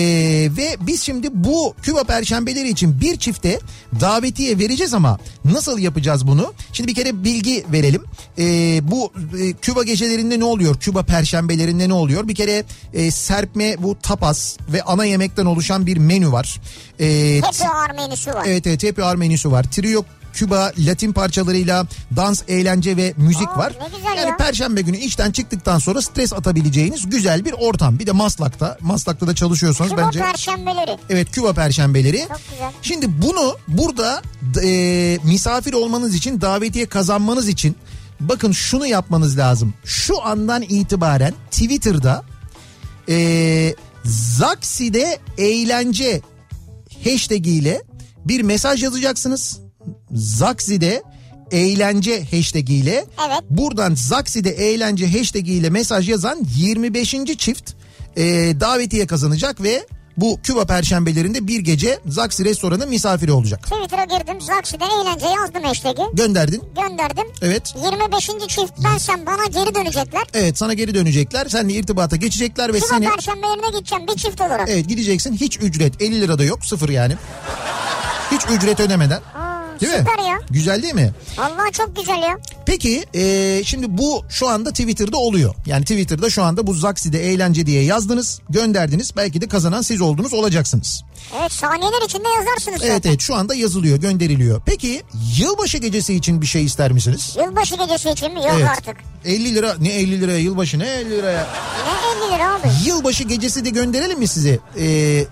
A: ve biz şimdi bu Küba Perşembeleri için bir çifte davetiye vereceğiz ama nasıl yapacağız bunu? Şimdi bir kere bilgi verelim. E, bu e, Küba gecelerinde ne oluyor? Küba Perşembelerinde ne oluyor? Bir kere e, serpme bu tapas ve ana yemekten oluşan bir menü var. E,
B: Hep o Armenisi var.
A: Evet evet happy hour menüsü var. Trio Küba Latin parçalarıyla dans, eğlence ve müzik
B: Aa,
A: var.
B: ne güzel
A: yani
B: ya.
A: perşembe günü işten çıktıktan sonra stres atabileceğiniz güzel bir ortam. Bir de Maslak'ta, Maslak'ta da çalışıyorsanız
B: Kim
A: bence
B: o perşembeleri?
A: Evet Küba Perşembeleri.
B: Çok güzel.
A: Şimdi bunu burada e, misafir olmanız için davetiye kazanmanız için bakın şunu yapmanız lazım. Şu andan itibaren Twitter'da e, Zaksi'de eğlence hashtag ile bir mesaj yazacaksınız. Zaksi'de eğlence hashtag ile
B: Evet.
A: buradan Zaksi'de eğlence hashtag ile mesaj yazan 25. çift e, davetiye kazanacak ve bu Küba Perşembelerinde bir gece Zaksi restoranı misafiri olacak.
B: Twitter'a girdim. Zaksi'den eğlence yazdım hashtag'i.
A: Gönderdin.
B: Gönderdim.
A: Evet.
B: 25. çift bensem bana geri dönecekler.
A: Evet sana geri dönecekler. Seninle irtibata geçecekler ve
B: Kim
A: seni...
B: o perşembelerine gideceğim bir çift olarak.
A: Evet gideceksin hiç ücret 50 lira da yok sıfır yani. Hiç ücret ödemeden.
B: Aa,
A: Değil mi?
B: süper ya.
A: Güzel değil mi?
B: Vallahi çok güzel ya.
A: Peki e, şimdi bu şu anda Twitter'da oluyor. Yani Twitter'da şu anda bu Zaksi'de eğlence diye yazdınız, gönderdiniz. Belki de kazanan siz oldunuz, olacaksınız.
B: Evet saniyeler içinde yazarsınız
A: Evet
B: zaten.
A: evet şu anda yazılıyor, gönderiliyor. Peki yılbaşı gecesi için bir şey ister misiniz?
B: Yılbaşı gecesi için mi? Yok
A: evet.
B: artık.
A: 50 lira ne 50 liraya yılbaşı ne 50 liraya.
B: Ne 50 lira abi?
A: Yılbaşı gecesi de gönderelim mi sizi? E,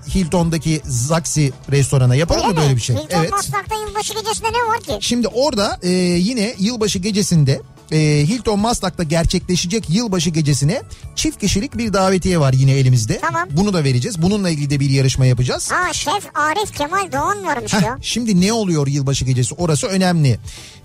A: Hilton'daki Zaksi restorana yapalım mı
B: Öyle
A: böyle
B: mi?
A: bir şey?
B: Hilton Maslak'ta yılbaşı gecesinde ne var ki?
A: Şimdi orada e, yine yılbaşı gecesinde e, Hilton Maslak'ta gerçekleşecek yılbaşı gecesine çift kişilik bir davetiye var yine elimizde.
B: Tamam.
A: Bunu da vereceğiz. Bununla ilgili de bir yarışma yapacağız.
B: Ha şef Arif Kemal Doğan varmış
A: Heh,
B: ya.
A: şimdi ne oluyor yılbaşı gecesi orası önemli.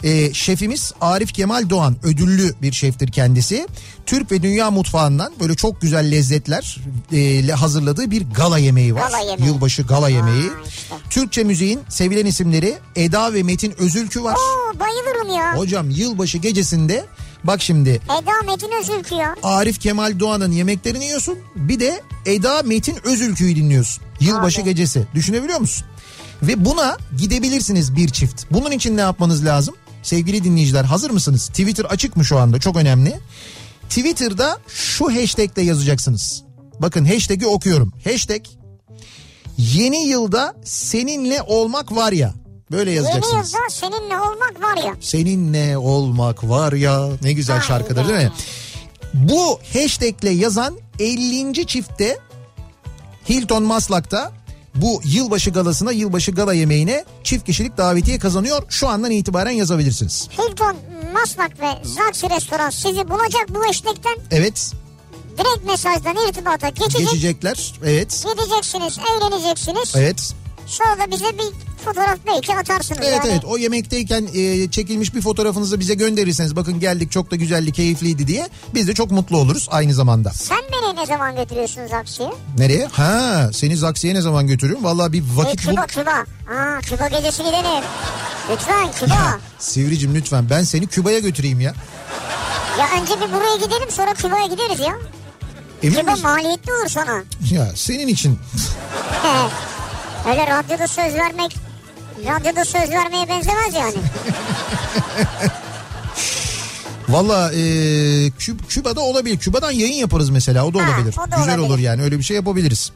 A: E, şefimiz Arif Kemal Doğan ödüllü bir şeftir kendisi. Türk ve dünya mutfağından böyle çok güzel lezzetler e, ile hazırladığı bir gala yemeği var.
B: Gala yemeği.
A: Yılbaşı gala yemeği.
B: işte.
A: Türkçe müziğin sevilen isimleri Eda ve Metin Özülkü var.
B: Oo bayılırım ya.
A: Hocam yılbaşı gecesinde Bak şimdi
B: Eda Metin Özülkü ya.
A: Arif Kemal Doğan'ın yemeklerini yiyorsun. Bir de Eda Metin Özülkü'yü dinliyorsun. Yılbaşı
B: Abi.
A: gecesi. Düşünebiliyor musun? Ve buna gidebilirsiniz bir çift. Bunun için ne yapmanız lazım? Sevgili dinleyiciler hazır mısınız? Twitter açık mı şu anda? Çok önemli. Twitter'da şu hashtagle yazacaksınız. Bakın hashtag'i okuyorum. Hashtag yeni yılda seninle olmak var ya. Böyle
B: Yeni
A: yazacaksınız.
B: yılda seninle olmak var ya.
A: Seninle olmak var ya ne güzel şarkıdır değil mi? Bu hashtagle yazan 50. çiftte Hilton Maslak'ta bu yılbaşı galasına yılbaşı gala yemeğine çift kişilik davetiye kazanıyor. Şu andan itibaren yazabilirsiniz.
B: Hilton, Maslak ve Zaksı Restoran sizi bulacak bu eşlikten
A: Evet
B: direkt mesajdan irtibata geçecek.
A: geçecekler. Evet.
B: Gideceksiniz, eğleneceksiniz.
A: Evet.
B: Sonra da bize bir fotoğraf belki atarsınız
A: Evet
B: yani.
A: evet o yemekteyken e, çekilmiş bir fotoğrafınızı bize gönderirseniz bakın geldik çok da güzeldi keyifliydi diye biz de çok mutlu oluruz aynı zamanda.
B: Sen beni ne zaman götürüyorsun Zaksı'ya?
A: Nereye? Ha seni Zaksi'ye ne zaman götürüyorum? Vallahi bir
B: E,
A: vakit bul.
B: Küba, Küba. Aa, Küba gecesi gidelim. Lütfen Küba.
A: Sivricim lütfen ben seni Küba'ya götüreyim ya.
B: ya önce bir buraya gidelim sonra Küba'ya gideriz ya.
A: Emin
B: Küba
A: misin?
B: maliyetli olur sana. *laughs*
A: Ya senin için.
B: He. Öyle radyoda söz vermek radyoda söz vermeye benzemez yani.
A: Valla e, Kü- Küba'da olabilir. Küba'dan yayın yaparız mesela o da
B: Ha,
A: olabilir.
B: o da
A: Güzel
B: olabilir.
A: olur yani öyle bir şey yapabiliriz.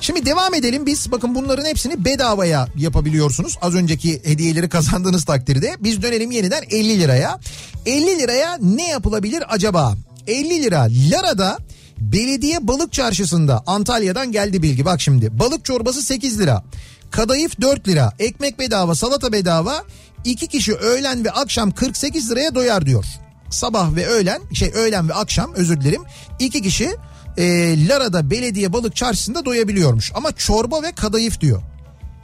A: Şimdi devam edelim biz bakın bunların hepsini bedavaya yapabiliyorsunuz. Az önceki hediyeleri kazandığınız takdirde biz dönelim yeniden 50 liraya. 50 liraya ne yapılabilir acaba? 50 lira Lara'da belediye balık çarşısında Antalya'dan geldi bilgi bak şimdi. Balık çorbası 8 lira. Kadayıf 4 lira. Ekmek bedava salata bedava. 2 kişi öğlen ve akşam 48 liraya doyar diyor. Sabah ve öğlen şey öğlen ve akşam özür dilerim. 2 kişi e, Lara'da belediye balık çarşısında doyabiliyormuş. Ama çorba ve kadayıf diyor.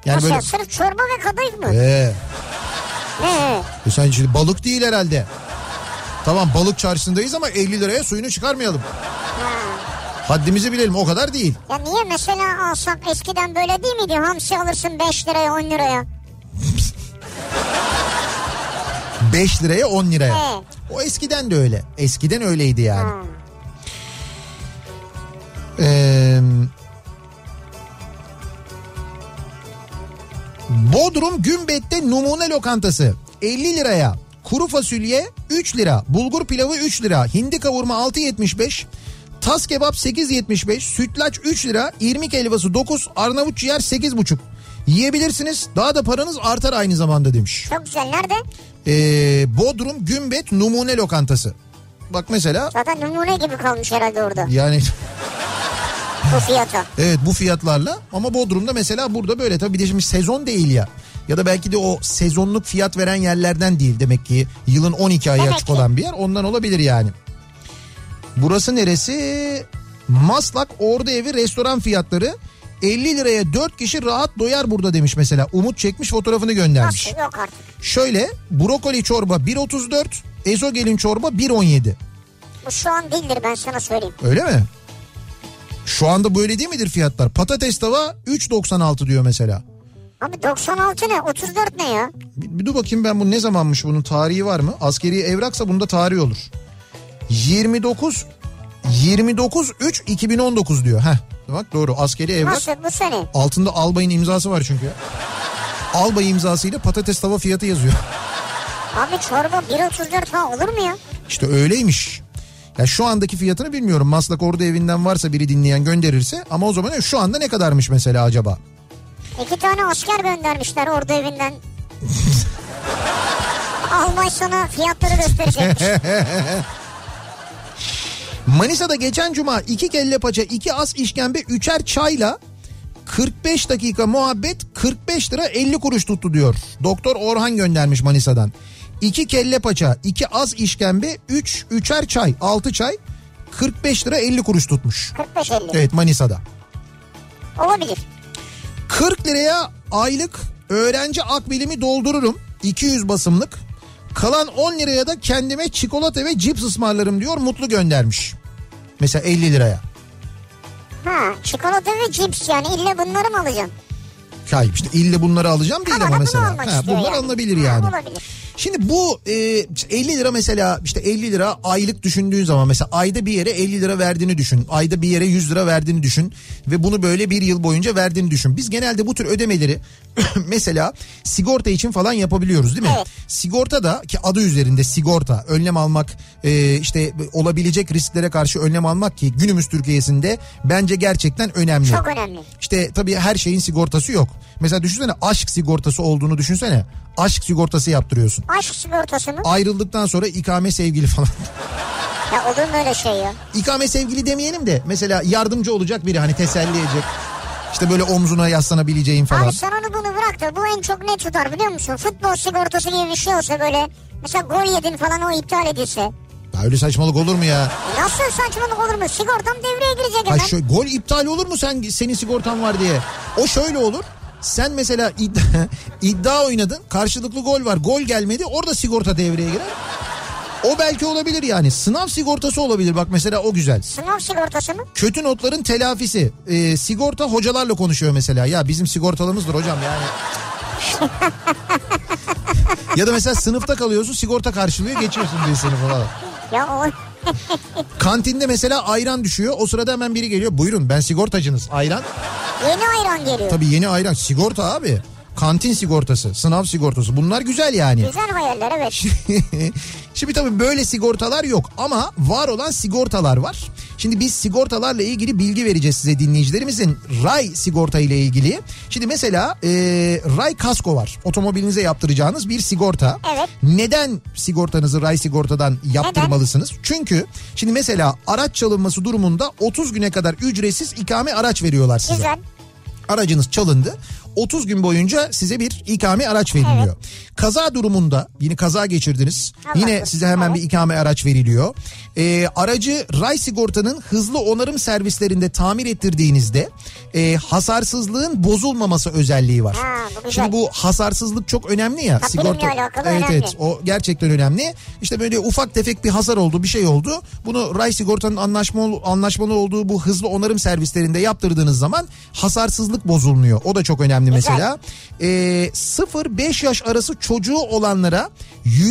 A: Yani
B: Nasıl
A: böyle...
B: ya, sırf çorba ve kadayıf mı?
A: Ee,
B: He.
A: e sen şimdi balık değil herhalde. Tamam balık çarşısındayız ama 50 liraya suyunu çıkarmayalım. Haddimizi bilelim o kadar değil.
B: Ya niye mesela alsak eskiden böyle değil miydi? Hamsi alırsın 5 liraya 10 liraya.
A: 5 liraya 10 liraya.
B: Evet.
A: O eskiden de öyle. Eskiden öyleydi yani. Ee, Bodrum Gümbet'te numune lokantası 50 liraya. Kuru fasulye 3 lira. Bulgur pilavı 3 lira. Hindi kavurma 6.75. Tas kebap 8.75. Sütlaç 3 lira. İrmik helvası 9. Arnavut ciğer 8.5. Yiyebilirsiniz. Daha da paranız artar aynı zamanda demiş.
B: Çok güzel. Nerede?
A: Ee, Bodrum Gümbet Numune Lokantası. Bak mesela
B: Zaten numune gibi kalmış herhalde orada.
A: yani
B: Bu fiyata.
A: evet bu fiyatlarla ama Bodrum'da mesela burada böyle tabii bir de şimdi sezon değil ya. Ya da belki de o sezonluk fiyat veren yerlerden değil demek ki yılın 12 ayı
B: Demek
A: açık
B: ki.
A: olan bir yer ondan olabilir yani. Burası neresi? Maslak Ordu Evi restoran fiyatları 50 liraya 4 kişi rahat doyar burada demiş mesela. Umut çekmiş fotoğrafını göndermiş.
B: Nasıl yok artık.
A: Şöyle brokoli çorba 1.34, ezogelin çorba 1.17.
B: Bu şu an değildir ben sana söyleyeyim.
A: Öyle mi? Şu anda böyle değil midir fiyatlar? Patates tava 3.96 diyor mesela.
B: Abi 96 ne? 34 ne ya?
A: Bir, bir dur bakayım ben bu ne zamanmış bunun tarihi var mı? Askeri evraksa bunda tarih olur. 29 29 3 2019 diyor. Heh. Bak doğru askeri evrak.
B: Nasıl bu sene?
A: Altında albayın imzası var çünkü. ya. Albay imzasıyla patates tava fiyatı yazıyor. *laughs*
B: Abi çorba 1.34 ha olur mu ya?
A: İşte öyleymiş. Ya şu andaki fiyatını bilmiyorum. Maslak Ordu evinden varsa biri dinleyen gönderirse. Ama o zaman şu anda ne kadarmış mesela acaba?
B: İki tane asker göndermişler
A: *laughs*
B: ordu evinden. Almay sana fiyatları gösterecekmiş.
A: *laughs* Manisa'da geçen cuma iki kelle paça, iki az işkembe, üçer çayla 45 dakika muhabbet 45 lira 50 kuruş tuttu diyor. Doktor Orhan göndermiş Manisa'dan. İki kelle paça, iki az işkembe, üç, üçer çay, altı çay 45 lira 50 kuruş tutmuş.
B: 45-50.
A: Evet Manisa'da.
B: Olabilir.
A: 40 liraya aylık öğrenci akbilimi doldururum. 200 basımlık. Kalan 10 liraya da kendime çikolata ve cips ısmarlarım diyor Mutlu göndermiş. Mesela 50 liraya.
B: Ha çikolata ve cips yani illa bunları mı alacaksın?
A: Hayır işte ille bunları alacağım değil
B: Ama
A: ama,
B: da bunu
A: mesela.
B: almak
A: Ha,
B: istiyor
A: bunlar
B: yani.
A: alınabilir yani.
B: Olabilir.
A: Şimdi bu e, 50 lira mesela işte 50 lira aylık düşündüğün zaman mesela ayda bir yere 50 lira verdiğini düşün. Ayda bir yere 100 lira verdiğini düşün ve bunu böyle bir yıl boyunca verdiğini düşün. Biz genelde bu tür ödemeleri *clears throat* mesela sigorta için falan yapabiliyoruz değil mi?
B: Evet.
A: Sigorta da ki adı üzerinde sigorta önlem almak e, işte olabilecek risklere karşı önlem almak ki günümüz Türkiye'sinde bence gerçekten önemli.
B: Çok önemli.
A: İşte tabii her şeyin sigortası yok. Mesela düşünsene aşk sigortası olduğunu düşünsene. Aşk sigortası yaptırıyorsun.
B: Aşk sigortası mı?
A: Ayrıldıktan sonra ikame sevgili falan. *laughs*
B: Ya olur mu öyle şey ya?
A: ikame sevgili demeyelim de mesela yardımcı olacak biri hani teselli edecek. İşte böyle omzuna yaslanabileceğin falan.
B: Abi sen onu bunu bırak da bu en çok ne tutar biliyor musun? Futbol sigortası gibi bir şey olsa böyle. Mesela gol yedin falan o iptal edilse.
A: Ya öyle saçmalık olur mu ya?
B: E Nasıl saçmalık olur mu? Sigortam devreye girecek
A: Ay
B: hemen.
A: şöyle, gol iptal olur mu sen senin sigortan var diye? O şöyle olur. Sen mesela id- iddia *laughs* oynadın. Karşılıklı gol var. Gol gelmedi. Orada sigorta devreye girer. O belki olabilir yani. Sınav sigortası olabilir. Bak mesela o güzel.
B: Sınav sigortası mı?
A: Kötü notların telafisi. Ee, sigorta hocalarla konuşuyor mesela. Ya bizim sigortalımızdır hocam yani. ya da mesela sınıfta kalıyorsun sigorta karşılıyor geçiyorsun diye seni falan.
B: Ya o...
A: Kantinde mesela ayran düşüyor. O sırada hemen biri geliyor. Buyurun ben sigortacınız. Ayran.
B: Yeni ayran geliyor.
A: Tabii yeni ayran sigorta abi. Kantin sigortası, sınav sigortası bunlar güzel yani.
B: Güzel hayaller evet.
A: *laughs* Şimdi tabii böyle sigortalar yok ama var olan sigortalar var. Şimdi biz sigortalarla ilgili bilgi vereceğiz size dinleyicilerimizin ray sigorta ile ilgili. Şimdi mesela e, ray kasko var. Otomobilinize yaptıracağınız bir sigorta.
B: Evet.
A: Neden sigortanızı ray sigortadan yaptırmalısınız? Çünkü şimdi mesela araç çalınması durumunda 30 güne kadar ücretsiz ikame araç veriyorlar size
B: Güzel.
A: aracınız çalındı. 30 gün boyunca size bir ikame araç veriliyor. Kaza durumunda yine kaza geçirdiniz.
B: Allah
A: yine
B: korusun,
A: size hemen
B: evet.
A: bir ikame araç veriliyor. Ee, aracı Ray Sigorta'nın hızlı onarım servislerinde tamir ettirdiğinizde e, hasarsızlığın bozulmaması özelliği var.
B: Ha, bu güzel.
A: Şimdi bu hasarsızlık çok önemli ya.
B: Ha, benimle alakalı
A: evet,
B: önemli.
A: evet o gerçekten önemli. İşte böyle ufak tefek bir hasar oldu bir şey oldu. Bunu Ray Sigorta'nın anlaşmalı, anlaşmalı olduğu bu hızlı onarım servislerinde yaptırdığınız zaman hasarsızlık bozulmuyor. O da çok önemli mesela. Ee, 0-5 yaş arası çocuğu olanlara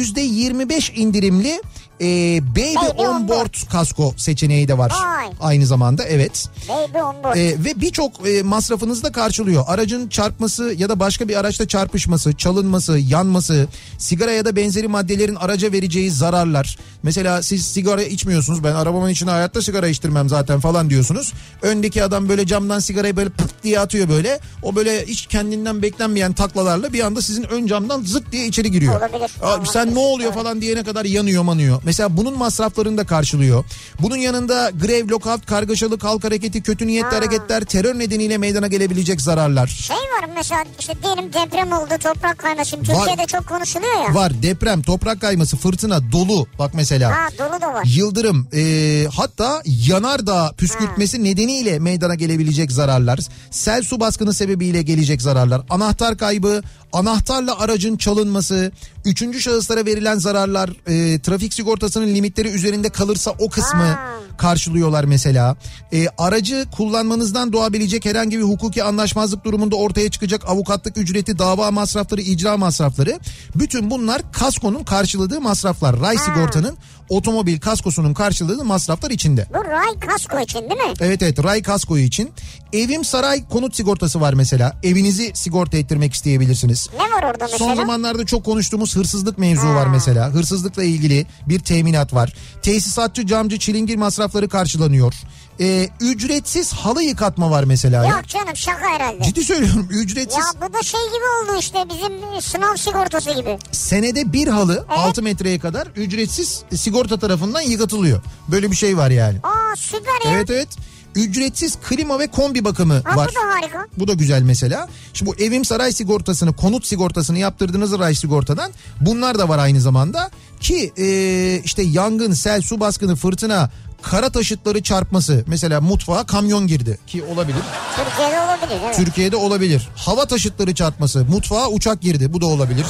A: %25 indirimli e, Baby,
B: Baby on
A: on board kasko seçeneği de var.
B: Vay.
A: Aynı zamanda evet.
B: Baby on board.
A: Ee, ve birçok e, masrafınızı da karşılıyor. Aracın çarpması ya da başka bir araçla çarpışması, çalınması, yanması, sigara ya da benzeri maddelerin araca vereceği zararlar. Mesela siz sigara içmiyorsunuz ben arabamın içine hayatta sigara içtirmem zaten falan diyorsunuz. Öndeki adam böyle camdan sigarayı böyle pıt diye atıyor böyle. O böyle hiç kendinden beklenmeyen taklalarla bir anda sizin ön camdan zık diye içeri giriyor.
B: Olabilir.
A: Aa,
B: Allah
A: sen ne
B: korusun.
A: oluyor falan diyene kadar yanıyor manıyor. Mesela bunun masraflarını da karşılıyor. Bunun yanında grev, lockout, kargaşalık, halk hareketi, kötü niyetli hareketler, terör nedeniyle meydana gelebilecek zararlar.
B: Şey var mı mesela işte diyelim deprem oldu toprak kaynaşım.
A: Var.
B: Türkiye'de çok konuşuluyor ya.
A: Var deprem, toprak kayması, fırtına, dolu bak mesela.
B: Ha dolu da var.
A: Yıldırım e, hatta yanardağ püskürtmesi nedeniyle meydana gelebilecek zararlar, sel su baskını sebebiyle gelecek zararlar, anahtar kaybı, anahtarla aracın çalınması, üçüncü şahıslara verilen zararlar, e, trafik sigortasının limitleri üzerinde kalırsa o kısmı
B: Aa.
A: karşılıyorlar mesela. E, aracı kullanmanızdan doğabilecek herhangi bir hukuki anlaşmazlık durumunda ortaya çıkacak avukatlık ücreti, dava masrafları, icra masrafları. Bütün bunlar kaskonun karşıladığı masraflar. Ray sigortanın otomobil kaskosunun karşıladığı masraflar içinde.
B: Bu ray kasko için değil mi?
A: Evet evet Ray Kasko'yu için. Evim Saray konut sigortası var mesela. Evinizi sigorta ettirmek isteyebilirsiniz.
B: Ne var orada mesela?
A: Son zamanlarda çok konuştuğumuz hırsızlık mevzu var mesela. Hırsızlıkla ilgili bir teminat var. Tesisatçı, camcı, çilingir masrafları karşılanıyor. Ee, ücretsiz halı yıkatma var mesela. ya.
B: Yok canım şaka herhalde.
A: Ciddi söylüyorum ücretsiz.
B: Ya bu da şey gibi oldu işte bizim sınav sigortası gibi.
A: Senede bir halı 6 metreye kadar ücretsiz sigorta tarafından yıkatılıyor. Böyle bir şey var yani.
B: Aa süper ya.
A: Evet evet. Ücretsiz klima ve kombi bakımı
B: Ha,
A: var.
B: bu da harika.
A: Bu da güzel mesela. Şimdi bu evim saray sigortasını, konut sigortasını yaptırdığınız ray sigortadan bunlar da var aynı zamanda. Ki e, işte yangın, sel, su baskını, fırtına, kara taşıtları çarpması. Mesela mutfağa kamyon girdi ki olabilir.
B: Türkiye'de olabilir evet.
A: Türkiye'de olabilir. Hava taşıtları çarpması, mutfağa uçak girdi bu da olabilir.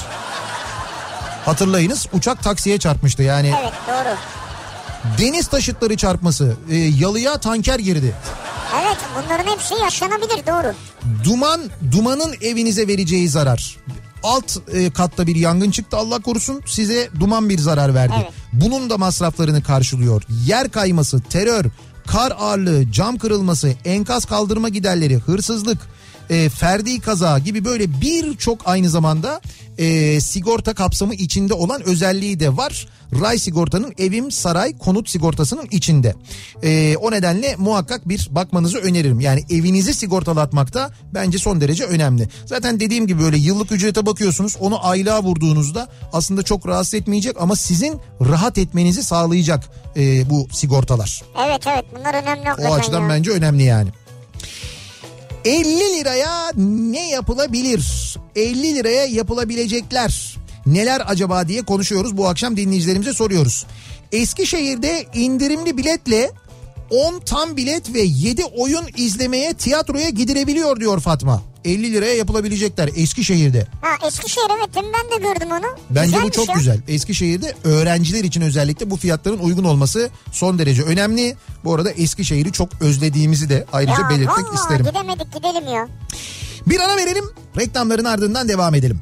A: Hatırlayınız uçak taksiye çarpmıştı yani.
B: Evet doğru.
A: Deniz taşıtları çarpması, e, yalıya tanker girdi.
B: Evet bunların hepsi yaşanabilir doğru.
A: Duman, dumanın evinize vereceği zarar. alt e, katta bir yangın çıktı Allah korusun size duman bir zarar verdi.
B: Evet.
A: Bunun da masraflarını karşılıyor. Yer kayması, terör, kar ağırlığı, cam kırılması, enkaz kaldırma giderleri, hırsızlık, e, ferdi kaza gibi böyle birçok aynı zamanda e, sigorta kapsamı içinde olan özelliği de var. Ray sigortanın evim saray konut sigortasının içinde. E, o nedenle muhakkak bir bakmanızı öneririm. Yani evinizi sigortalatmakta bence son derece önemli. Zaten dediğim gibi böyle yıllık ücrete bakıyorsunuz onu aylığa vurduğunuzda aslında çok rahatsız etmeyecek ama sizin rahat etmenizi sağlayacak e, bu sigortalar.
B: Evet evet bunlar önemli hakikaten
A: O açıdan
B: ya.
A: bence önemli yani. 50 liraya ne yapılabilir? 50 liraya yapılabilecekler neler acaba diye konuşuyoruz. Bu akşam dinleyicilerimize soruyoruz. Eskişehir'de indirimli biletle 10 tam bilet ve 7 oyun izlemeye tiyatroya gidilebiliyor diyor Fatma. 50 liraya yapılabilecekler Eskişehir'de.
B: Ha Eskişehir evet dün ben de gördüm onu.
A: Bence bu
B: Güzelmiş
A: çok
B: ya.
A: güzel. Eskişehir'de öğrenciler için özellikle bu fiyatların uygun olması son derece önemli. Bu arada Eskişehir'i çok özlediğimizi de ayrıca
B: Ya
A: belirtmek
B: vallahi
A: isterim.
B: gidemedik gidelim ya.
A: Bir ara verelim. Reklamların ardından devam edelim.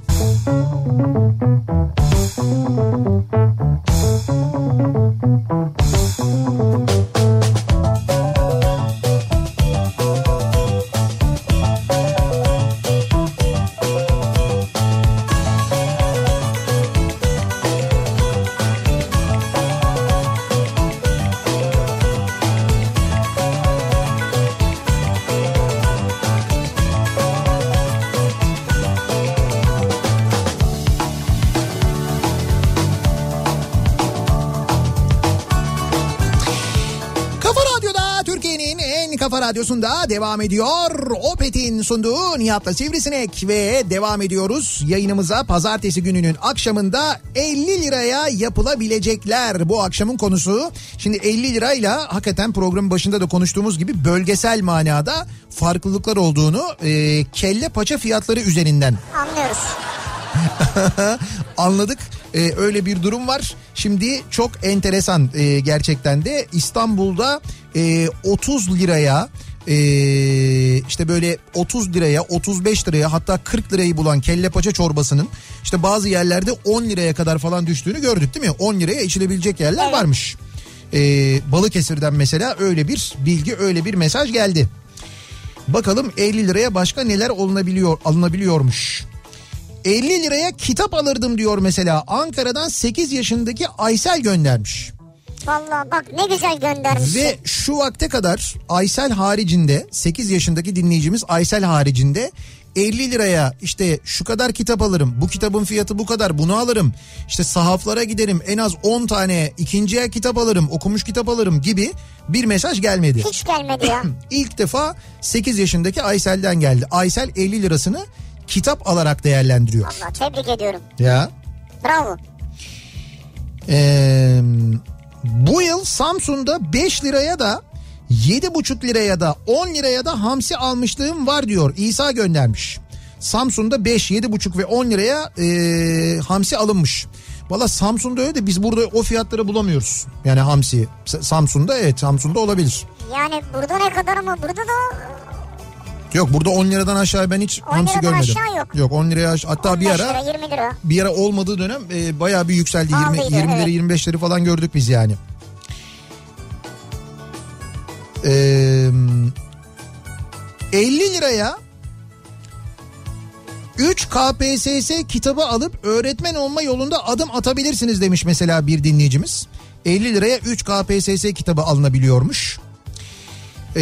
A: Kafa Radyo'da Türkiye'nin en kafa radyosunda devam ediyor. Opet'in sunduğu Nihat'la Sivrisinek ve devam ediyoruz. Yayınımıza pazartesi gününün akşamında 50 liraya yapılabilecekler bu akşamın konusu. Şimdi 50 lirayla hakikaten programın başında da konuştuğumuz gibi bölgesel manada farklılıklar olduğunu e, kelle paça fiyatları üzerinden
B: Anlıyoruz.
A: Anladık. Ee, öyle bir durum var. Şimdi çok enteresan e, gerçekten de İstanbul'da e, 30 liraya e, işte böyle 30 liraya 35 liraya hatta 40 lirayı bulan kelle paça çorbasının işte bazı yerlerde 10 liraya kadar falan düştüğünü gördük değil mi? 10 liraya içilebilecek yerler
B: Evet.
A: varmış. Ee, Balıkesir'den mesela öyle bir bilgi öyle bir mesaj geldi. Bakalım 50 liraya başka neler olunabiliyor alınabiliyormuş. 50 liraya kitap alırdım diyor mesela. Ankara'dan 8 yaşındaki Aysel göndermiş.
B: Vallahi bak ne güzel göndermiş.
A: Ve şu vakte kadar Aysel haricinde 8 yaşındaki dinleyicimiz Aysel haricinde 50 liraya işte şu kadar kitap alırım. Bu kitabın fiyatı bu kadar. Bunu alırım. İşte sahaflara giderim. En az 10 tane ikinci el kitap alırım. Okumuş kitap alırım gibi bir mesaj gelmedi. *clears throat*
B: Hiç gelmedi ya.
A: İlk defa 8 yaşındaki Aysel'den geldi. Aysel 50 lirasını kitap alarak değerlendiriyor.
B: Vallahi tebrik ediyorum.
A: Ya.
B: Bravo.
A: Ee, bu yıl Samsun'da 5 liraya da 7,5 liraya da 10 liraya da hamsi almışlığım var diyor. İsa göndermiş. Samsun'da 5, 7,5 ve 10 liraya ee, hamsi alınmış. Valla Samsun'da öyle de biz burada o fiyatları bulamıyoruz. Yani hamsi. Sa- Samsun'da evet Samsun'da olabilir.
B: Yani burada ne kadar ama burada da
A: Yok burada 10 liradan aşağı ben hiç
B: 10
A: hamsi
B: liradan
A: görmedim.
B: aşağı yok.
A: Yok 10 liraya aş- hatta bir
B: 15
A: ara
B: lira 20 lira.
A: bir ara olmadığı dönem e, bayağı bir yükseldi. 20,
B: Pahalıydı,
A: 20 lira
B: evet.
A: 25 lira falan gördük biz yani. Ee, 50 liraya 3 KPSS kitabı alıp öğretmen olma yolunda adım atabilirsiniz demiş mesela bir dinleyicimiz. 50 liraya 3 KPSS kitabı alınabiliyormuş. Ee,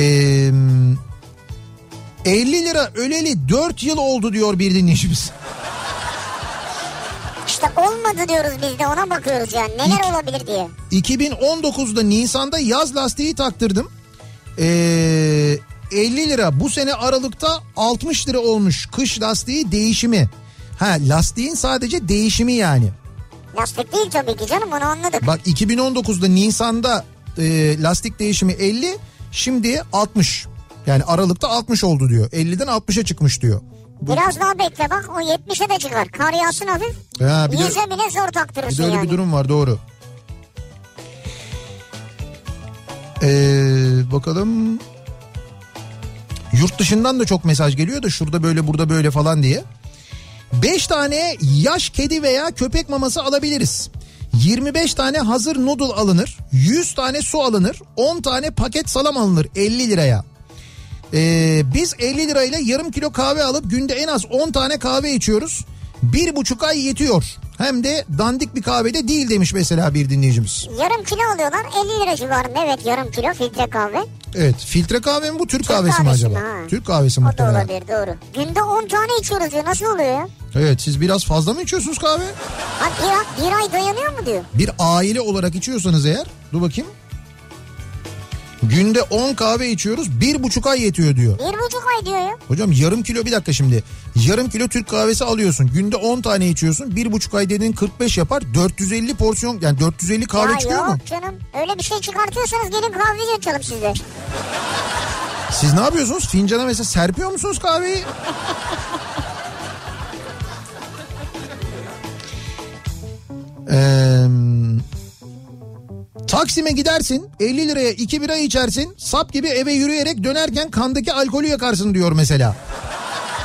A: 50 lira öleli 4 yıl oldu diyor bir dinleyicimiz.
B: İşte olmadı diyoruz biz de ona bakıyoruz yani. Neler
A: İlk-
B: olabilir diye.
A: 2019'da Nisan'da yaz lastiği taktırdım. Ee, 50 lira bu sene Aralık'ta 60 lira olmuş kış lastiği değişimi. Ha lastiğin sadece değişimi yani.
B: Lastik değil tabii ki canım onu anladık.
A: Bak 2019'da Nisan'da e, lastik değişimi 50 şimdi 60. Yani Aralık'ta 60 oldu diyor. 50'den 60'a çıkmış diyor. Bu,
B: Biraz daha bekle bak o 70'e de çıkar. Kar yağsın hafif.
A: ha, bir de-
B: Yüze bile zor
A: Bir de
B: taktırırsın
A: öyle
B: yani.
A: bir durum var doğru. Ee, bakalım. Yurt dışından da çok mesaj geliyor da şurada böyle burada böyle falan diye. 5 tane yaş kedi veya köpek maması alabiliriz. 25 tane hazır noodle alınır. 100 tane su alınır. 10 tane paket salam alınır 50 liraya. Ee, biz 50 lirayla yarım kilo kahve alıp günde en az 10 tane kahve içiyoruz. Bir buçuk ay yetiyor. Hem de dandik bir kahvede değil demiş mesela bir dinleyicimiz.
B: Yarım kilo alıyorlar 50 lira civarında evet yarım kilo filtre kahve.
A: Evet filtre kahve mi bu Türk, kahvesi mi
B: kahvesi
A: acaba?
B: mi ha?
A: Türk kahvesi
B: O da
A: muhtemelen.
B: olabilir doğru. Günde 10 tane içiyoruz diyor nasıl oluyor ya?
A: Evet siz biraz fazla mı içiyorsunuz kahve?
B: Ha, bir, ay- bir ay dayanıyor mu diyor.
A: Bir aile olarak içiyorsanız eğer dur bakayım. Günde 10 kahve içiyoruz bir buçuk ay yetiyor diyor.
B: Bir buçuk ay diyor ya.
A: Hocam yarım kilo bir dakika şimdi. Yarım kilo Türk kahvesi alıyorsun. Günde 10 tane içiyorsun. Bir buçuk ay dediğin 45 yapar. 450 porsiyon yani 450 kahve
B: ya
A: çıkıyor
B: yok
A: mu?
B: canım öyle bir şey çıkartıyorsanız gelin kahveci açalım sizde.
A: Siz ne yapıyorsunuz? Fincana mesela serpiyor musunuz kahveyi? *laughs* Eee, Taksim'e gidersin 50 liraya 2 bira içersin sap gibi eve yürüyerek dönerken kandaki alkolü yakarsın diyor mesela.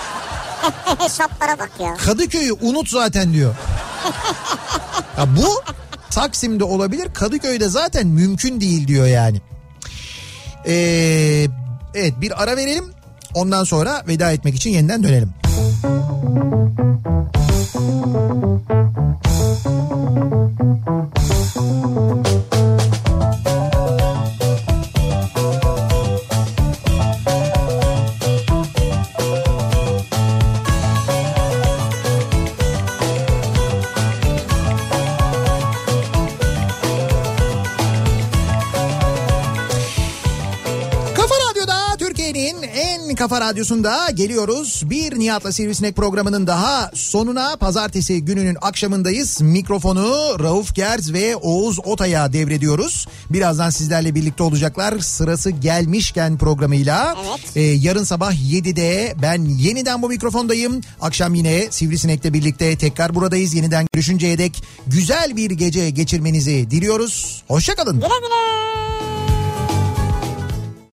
B: *laughs* Hesaplara bak ya.
A: Kadıköy'ü unut zaten diyor. Ya bu Taksim'de olabilir Kadıköy'de zaten mümkün değil diyor yani. Ee, evet bir ara verelim ondan sonra veda etmek için yeniden dönelim. Kafa Radyo'da Türkiye'nin en kafa radyosunda geliyoruz. Bir Nihat'la Sivrisinek programının daha sonuna pazartesi gününün akşamındayız. Mikrofonu Rauf Gerz ve Oğuz Otay'a devrediyoruz. Birazdan sizlerle birlikte olacaklar. Sırası gelmişken programıyla.
B: Evet.
A: Ee, yarın sabah 7'de ben yeniden bu mikrofondayım. Akşam yine Sivrisinek'le birlikte tekrar buradayız. Yeniden görüşünceye dek güzel bir gece geçirmenizi diliyoruz. Hoşçakalın.
B: Güle güle.